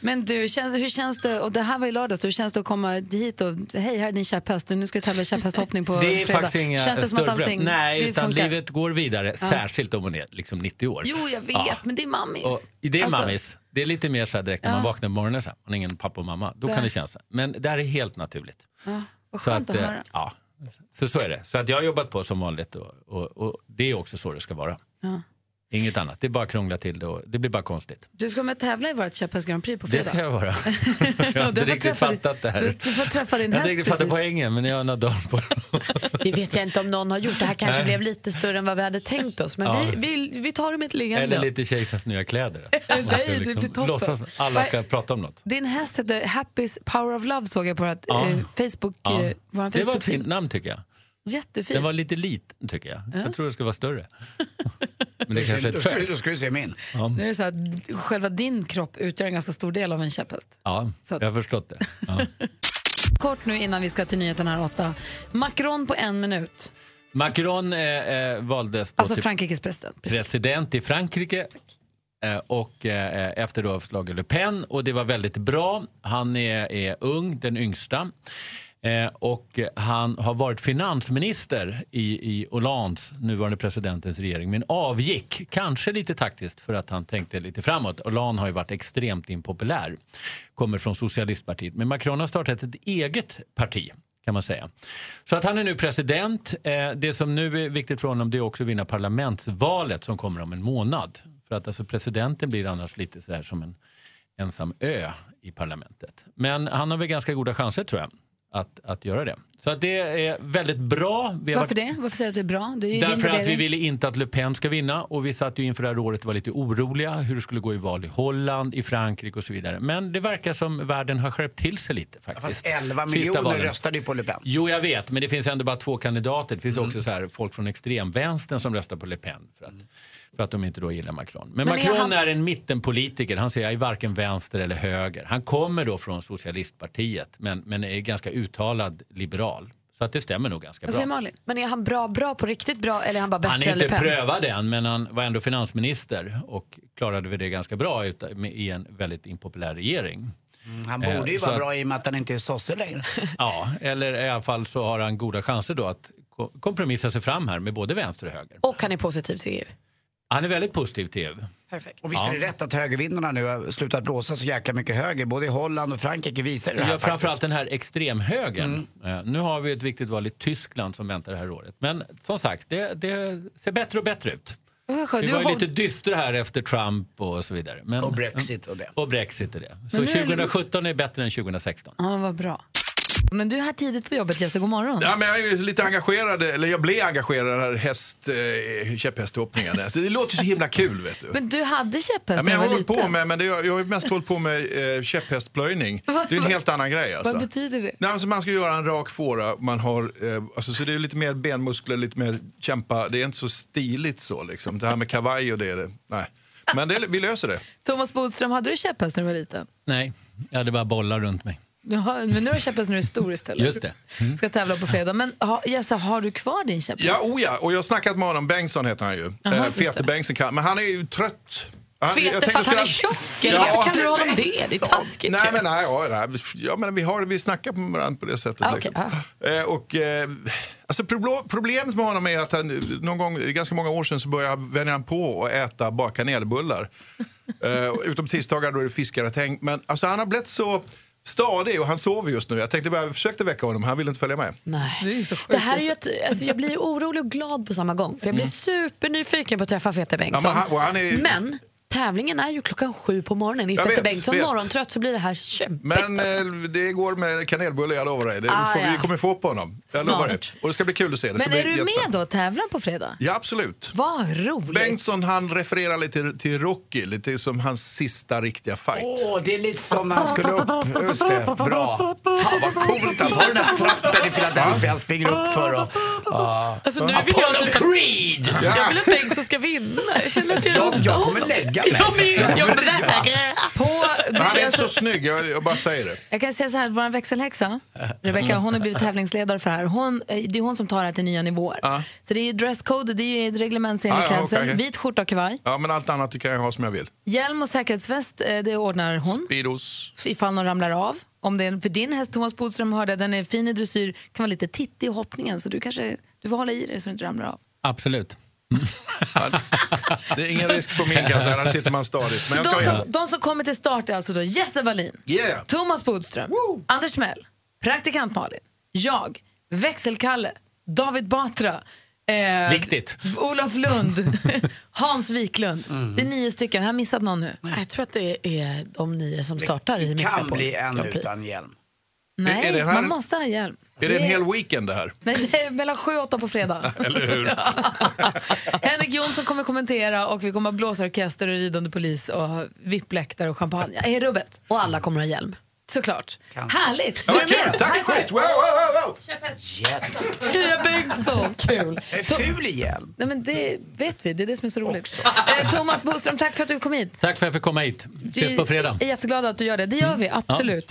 [SPEAKER 2] Men du, känns, hur känns det, och det här var i lördags, hur känns det att komma hit och hej, här är din käpphäst, nu ska vi tävla i käpphästhoppning på
[SPEAKER 27] det är
[SPEAKER 2] fredag.
[SPEAKER 27] faktiskt inga
[SPEAKER 2] känns det som att
[SPEAKER 27] större problem.
[SPEAKER 2] allting
[SPEAKER 27] Nej,
[SPEAKER 2] det
[SPEAKER 27] utan
[SPEAKER 2] funkar?
[SPEAKER 27] livet går vidare.
[SPEAKER 2] Ja.
[SPEAKER 27] Särskilt om hon är liksom 90 år.
[SPEAKER 2] Jo, jag vet,
[SPEAKER 27] Ja.
[SPEAKER 2] men det är mammis.
[SPEAKER 27] Och det är
[SPEAKER 2] Alltså,
[SPEAKER 27] mammis. Det är lite mer så här direkt när man vaknar på morgonen. Så här, man har ingen pappa och mamma. Då
[SPEAKER 2] Det-
[SPEAKER 27] kan det kännas. så här. Men det här är helt naturligt.
[SPEAKER 2] Ja, vad skönt
[SPEAKER 27] eh,
[SPEAKER 2] att höra.
[SPEAKER 27] Ja, så, så är det. Så att jag har jobbat på som vanligt och, och, och det är också så det ska vara.
[SPEAKER 2] Ja.
[SPEAKER 27] Inget annat. Det är bara krångla till det och det blir bara konstigt.
[SPEAKER 2] Du ska med och tävla i vårt käpphäst Grand Prix på fredag.
[SPEAKER 27] Det ska jag vara. jag har inte riktigt fattat det här.
[SPEAKER 2] Du får träffa din
[SPEAKER 27] jag har inte
[SPEAKER 2] häst
[SPEAKER 27] riktigt fattat
[SPEAKER 2] precis.
[SPEAKER 27] poängen men jag har några dagar på
[SPEAKER 3] Det vet jag inte om någon har gjort. Det här kanske
[SPEAKER 27] Nej.
[SPEAKER 3] blev lite större än vad vi hade tänkt oss. Men
[SPEAKER 27] Ja.
[SPEAKER 3] vi, vi, vi tar det med ett leende.
[SPEAKER 27] Eller lite kejsarens nya kläder.
[SPEAKER 2] Nej,
[SPEAKER 27] Man ska liksom
[SPEAKER 2] det blir toppen.
[SPEAKER 27] låtsas, alla ska prata om något.
[SPEAKER 2] Din häst heter Happy's Power of Love såg jag på vårt,
[SPEAKER 27] Ja.
[SPEAKER 2] eh, Facebook,
[SPEAKER 27] Ja.
[SPEAKER 2] eh,
[SPEAKER 27] Det
[SPEAKER 2] vår
[SPEAKER 27] var ett
[SPEAKER 2] Facebook.
[SPEAKER 27] fint namn tycker jag.
[SPEAKER 2] Jättefin.
[SPEAKER 27] Den var lite liten tycker jag. Jag tror den skulle vara större. Men det
[SPEAKER 4] Då
[SPEAKER 27] kanske är
[SPEAKER 4] då
[SPEAKER 27] ett
[SPEAKER 4] ska du-
[SPEAKER 27] fel.
[SPEAKER 4] Då ska du se min.
[SPEAKER 27] Ja,
[SPEAKER 2] Nu är det så att själva din kropp utgör en ganska stor del av en käpphäst.
[SPEAKER 27] ja jag har förstått det.
[SPEAKER 2] Kort nu innan vi ska till nyheten här åtta. Macron på en minut,
[SPEAKER 27] Macron eh, eh, valdes då
[SPEAKER 2] alltså
[SPEAKER 27] till
[SPEAKER 2] Frankrikes president.
[SPEAKER 27] president i Frankrike. eh, Och eh, efter då avslaget Le Pen och det var väldigt bra. Han är, är ung, den yngsta. Eh, Och eh, han har varit finansminister i, i Hollands, nuvarande presidentens regering, men avgick. Kanske lite taktiskt för att han tänkte lite framåt. Hollande har ju varit extremt impopulär. Kommer från socialistpartiet. Men Macron har startat ett eget parti kan man säga. Så att han är nu president. Eh, Det som nu är viktigt för honom det är också att vinna parlamentsvalet som kommer om en månad. För att alltså presidenten blir annars lite så här som en ensam ö i parlamentet. Men han har väl ganska goda chanser tror jag att, att göra det. Så att det är väldigt bra. Vi har
[SPEAKER 2] Varför
[SPEAKER 27] varit-
[SPEAKER 2] det? Varför säger du att det är bra? Det är ju din
[SPEAKER 27] Därför att vi
[SPEAKER 2] värdering.
[SPEAKER 27] ville inte att Le Pen ska vinna och vi satt ju inför det här året och var lite oroliga hur det skulle gå i val i Holland, i Frankrike och så vidare. Men det verkar som världen har skärpt till sig lite faktiskt.
[SPEAKER 4] Fast 11
[SPEAKER 27] Sista
[SPEAKER 4] miljoner
[SPEAKER 27] valen.
[SPEAKER 4] röstade ju på Le Pen.
[SPEAKER 27] Jo, jag vet, men det finns ändå bara två kandidater. Det finns också så här, folk från extremvänstern som röstar på Le Pen för att, för att de inte då gillar Macron. Men,
[SPEAKER 2] Men är
[SPEAKER 27] Macron
[SPEAKER 2] han-
[SPEAKER 27] är en mittenpolitiker. Han säger jag är varken vänster eller höger. Han kommer då från socialistpartiet, men, men är ganska uttalad liberal. Så att det stämmer nog ganska
[SPEAKER 2] Alltså,
[SPEAKER 3] Vad
[SPEAKER 27] bra.
[SPEAKER 3] säger Malin? Men är han bra, bra på riktigt bra eller är han bara bättre
[SPEAKER 27] Han är
[SPEAKER 3] än Le
[SPEAKER 27] inte
[SPEAKER 3] Pen?
[SPEAKER 27] prövad än, men han var ändå finansminister och klarade väl det ganska bra uta- med- i en väldigt impopulär regering.
[SPEAKER 4] Han
[SPEAKER 27] Eh,
[SPEAKER 4] borde ju
[SPEAKER 27] så
[SPEAKER 4] vara
[SPEAKER 27] att-
[SPEAKER 4] bra i och med att han inte är sosse längre.
[SPEAKER 27] Ja, eller i alla fall så har han goda chanser då att ko- kompromissa sig fram här med både vänster och höger.
[SPEAKER 3] Och han är positiv
[SPEAKER 2] E
[SPEAKER 3] till EU.
[SPEAKER 27] Han är väldigt positiv till E EU.
[SPEAKER 3] Perfekt.
[SPEAKER 4] Och visst är det rätt att högervindarna nu har slutat blåsa så jäkla mycket höger. Både i Holland och Frankrike visar ju det här
[SPEAKER 27] Ja,
[SPEAKER 4] faktiskt.
[SPEAKER 27] framförallt den här extremhögern. Eh, Nu har vi ett viktigt val i Tyskland som väntar det här året. Men som sagt, det, det ser bättre och bättre ut.
[SPEAKER 2] Vad skönt.
[SPEAKER 27] Vi
[SPEAKER 2] Du
[SPEAKER 27] var ju
[SPEAKER 2] har-
[SPEAKER 27] lite dystra här efter Trump och så vidare. Men, och Brexit och det. Och Brexit och det. Så
[SPEAKER 2] Men nu är det-
[SPEAKER 27] 2017 är bättre än 2016.
[SPEAKER 2] Ja, vad bra. Men du är här tidigt på jobbet, Jesse. God morgon.
[SPEAKER 28] Ja, men jag är ju lite engagerad, eller jag blev engagerad i den här häst, eh, käpphästhoppningen. Alltså, det låter ju så himla kul vet du.
[SPEAKER 2] Men du hade käpphäst
[SPEAKER 28] Ja, men
[SPEAKER 2] när
[SPEAKER 28] jag
[SPEAKER 2] du
[SPEAKER 28] har
[SPEAKER 2] var
[SPEAKER 28] hållit
[SPEAKER 2] liten.
[SPEAKER 28] på med, men det, jag har ju mest hållit på med eh, käpphästplöjning. Det är en helt annan grej alltså.
[SPEAKER 2] Vad betyder det?
[SPEAKER 28] Nej, alltså man ska göra en rak fåra, man har, eh, alltså, så det är lite mer benmuskler, lite mer kämpa. Det är inte så stiligt så liksom. Det här med kavaj och det, är det nej. Men det, vi löser det.
[SPEAKER 2] Thomas Bodström, hade du käpphäst när du var liten?
[SPEAKER 27] Nej, jag hade bara bollar runt mig.
[SPEAKER 2] Jaha, men nu har du käpphäst när du är stor istället.
[SPEAKER 27] Just det. Mm.
[SPEAKER 2] Ska tävla på fredag. Men ha, Jesse, har du kvar din käpphäst?
[SPEAKER 28] Ja, oh ja, och jag har snackat med honom, Bengtsson heter han ju.
[SPEAKER 2] Jaha,
[SPEAKER 28] eh,
[SPEAKER 2] just det.
[SPEAKER 28] Fete Bengtsson, kan- men han är ju trött.
[SPEAKER 2] Fete
[SPEAKER 28] jag
[SPEAKER 2] för
[SPEAKER 28] tänkte
[SPEAKER 2] att han är
[SPEAKER 28] skulle-
[SPEAKER 2] tjock, eller varför kallar du honom det? Det är taskigt
[SPEAKER 28] Nej,
[SPEAKER 2] ju.
[SPEAKER 28] men nej, ja, nej. Ja, men vi, har, vi snackar med varandra på det sättet.
[SPEAKER 2] Ah,
[SPEAKER 28] liksom.
[SPEAKER 2] okej,
[SPEAKER 28] eh, och, eh, alltså, problo- problemet med honom är att han, någon gång, ganska många år sedan så började han vänja han på att äta bara kanelbullar. Eh, utom tisdagar då är det fiskgratäng. Men alltså, han har blivit så stadig och han sover just nu. Jag tänkte bara, jag försökte väcka honom, han ville inte följa med.
[SPEAKER 3] Nej.
[SPEAKER 2] Det är ju så sjukt.
[SPEAKER 3] Det här är ju ett, alltså jag blir orolig och glad på samma gång. För Jag blir supernyfiken på att träffa Fete Bengtsson.
[SPEAKER 28] Mm. Ja, men han- och han är-
[SPEAKER 3] Men tävlingen är ju klockan sju på morgonen. Är
[SPEAKER 28] Jag
[SPEAKER 3] Fete
[SPEAKER 28] vet,
[SPEAKER 3] Bengtsson
[SPEAKER 28] vet.
[SPEAKER 3] morgontrött så blir det här kämpigt. alltså.
[SPEAKER 28] Men eh, det går med kanelbulle, jag lovar dig. Det
[SPEAKER 3] Ah,
[SPEAKER 28] får,
[SPEAKER 3] ja.
[SPEAKER 28] Vi kommer få på honom. Jag
[SPEAKER 2] Smart.
[SPEAKER 28] lovar det. Och det ska bli kul att se. Det ska
[SPEAKER 2] Men
[SPEAKER 28] bli
[SPEAKER 2] är du
[SPEAKER 28] jättespännande.
[SPEAKER 2] med då och tävlar på fredag?
[SPEAKER 28] Ja, absolut.
[SPEAKER 2] Vad roligt.
[SPEAKER 28] Bengtsson han refererar lite till, till Rocky, lite som hans sista riktiga fight.
[SPEAKER 4] Åh, det är lite som när han skulle upp. Just det, bra. Fan vad coolt alltså. Har du den här trappen i Philadelphia han springer upp för och... ja.
[SPEAKER 3] Alltså, nu vill
[SPEAKER 4] Apollo
[SPEAKER 3] jag typ att-
[SPEAKER 4] Creed!
[SPEAKER 3] Jag vill att Bengtsson ska vinna. Jag känner att jag
[SPEAKER 4] Jag, jag kommer lägga mig.
[SPEAKER 3] Jag kommer
[SPEAKER 2] På, alltså-
[SPEAKER 28] Men han är inte så snygg, jag, jag bara säger det.
[SPEAKER 2] Jag kan säga så här, vår växelhäxa, Rebecca, hon har blivit tävlingsledare för det här. Hon, eh, det är hon som tar det här till nya nivåer. Så det är ju dresscode, det är ju reglementsenlig
[SPEAKER 28] Ah, ja,
[SPEAKER 2] klädsel,
[SPEAKER 28] okej, okej.
[SPEAKER 2] vit skjorta och kavaj.
[SPEAKER 28] Ja, men allt annat kan jag ha som jag vill.
[SPEAKER 2] Hjälm och säkerhetsväst, eh, det ordnar hon
[SPEAKER 28] Speedos.
[SPEAKER 2] ifall någon ramlar av. Om det är, en- för din häst Thomas Bodström hörde, den är fin i dressyr, kan vara lite tittig i hoppningen så du kanske du får hålla i dig så du inte ramlar av.
[SPEAKER 27] Absolut.
[SPEAKER 28] Mm. Det är ingen risk på min kan jag säga, här sitter man stadigt. Men jag
[SPEAKER 2] De
[SPEAKER 28] ska
[SPEAKER 2] som,
[SPEAKER 28] igen.
[SPEAKER 2] de som kommer till start är alltså då Jesse Wallin,
[SPEAKER 28] Yeah.
[SPEAKER 2] Thomas Bodström, Anders Timell, praktikant Malin, jag, växelkalle, David Batra, eh,
[SPEAKER 27] Viktigt.
[SPEAKER 2] Olof Lund, Hans Wiklund.
[SPEAKER 28] Mm.
[SPEAKER 2] Det är nio stycken. Har jag missat någon nu?
[SPEAKER 3] Jag tror att det är de nio som startar i
[SPEAKER 4] Det
[SPEAKER 3] Mix
[SPEAKER 4] kan
[SPEAKER 3] Megapol.
[SPEAKER 4] bli en
[SPEAKER 3] Grand Prix.
[SPEAKER 4] utan hjälm.
[SPEAKER 2] Nej,
[SPEAKER 28] Är det här
[SPEAKER 2] man
[SPEAKER 28] en-
[SPEAKER 2] måste ha hjälp.
[SPEAKER 28] Är det en hel weekend det här?
[SPEAKER 2] Nej, det är mellan sju och åtta på fredag.
[SPEAKER 28] Eller hur?
[SPEAKER 2] Henrik Jonsson kommer kommentera och vi kommer ha blåsorkester och ridande polis och vippläktare och champagne. Hej rubbet!
[SPEAKER 3] Och alla kommer ha hjälm.
[SPEAKER 2] Såklart.
[SPEAKER 28] Kanske.
[SPEAKER 2] Härligt!
[SPEAKER 28] Ja,
[SPEAKER 2] Var
[SPEAKER 28] vad
[SPEAKER 2] du
[SPEAKER 28] kul.
[SPEAKER 2] med då?
[SPEAKER 28] Tack,
[SPEAKER 2] High five.
[SPEAKER 28] schysst. Wow, wow, wow,
[SPEAKER 4] Jätte.
[SPEAKER 28] wow.
[SPEAKER 2] Kia Bengtsson! Kul!
[SPEAKER 4] Jag är ful igen.
[SPEAKER 2] Nej, men det vet vi, det är det som är så roligt. Eh, Thomas Boström, tack för att du kom hit.
[SPEAKER 29] Tack för att jag fick komma hit. Ses på fredag. Mm.
[SPEAKER 2] Vi är jätteglada att du gör det. Det gör vi, absolut.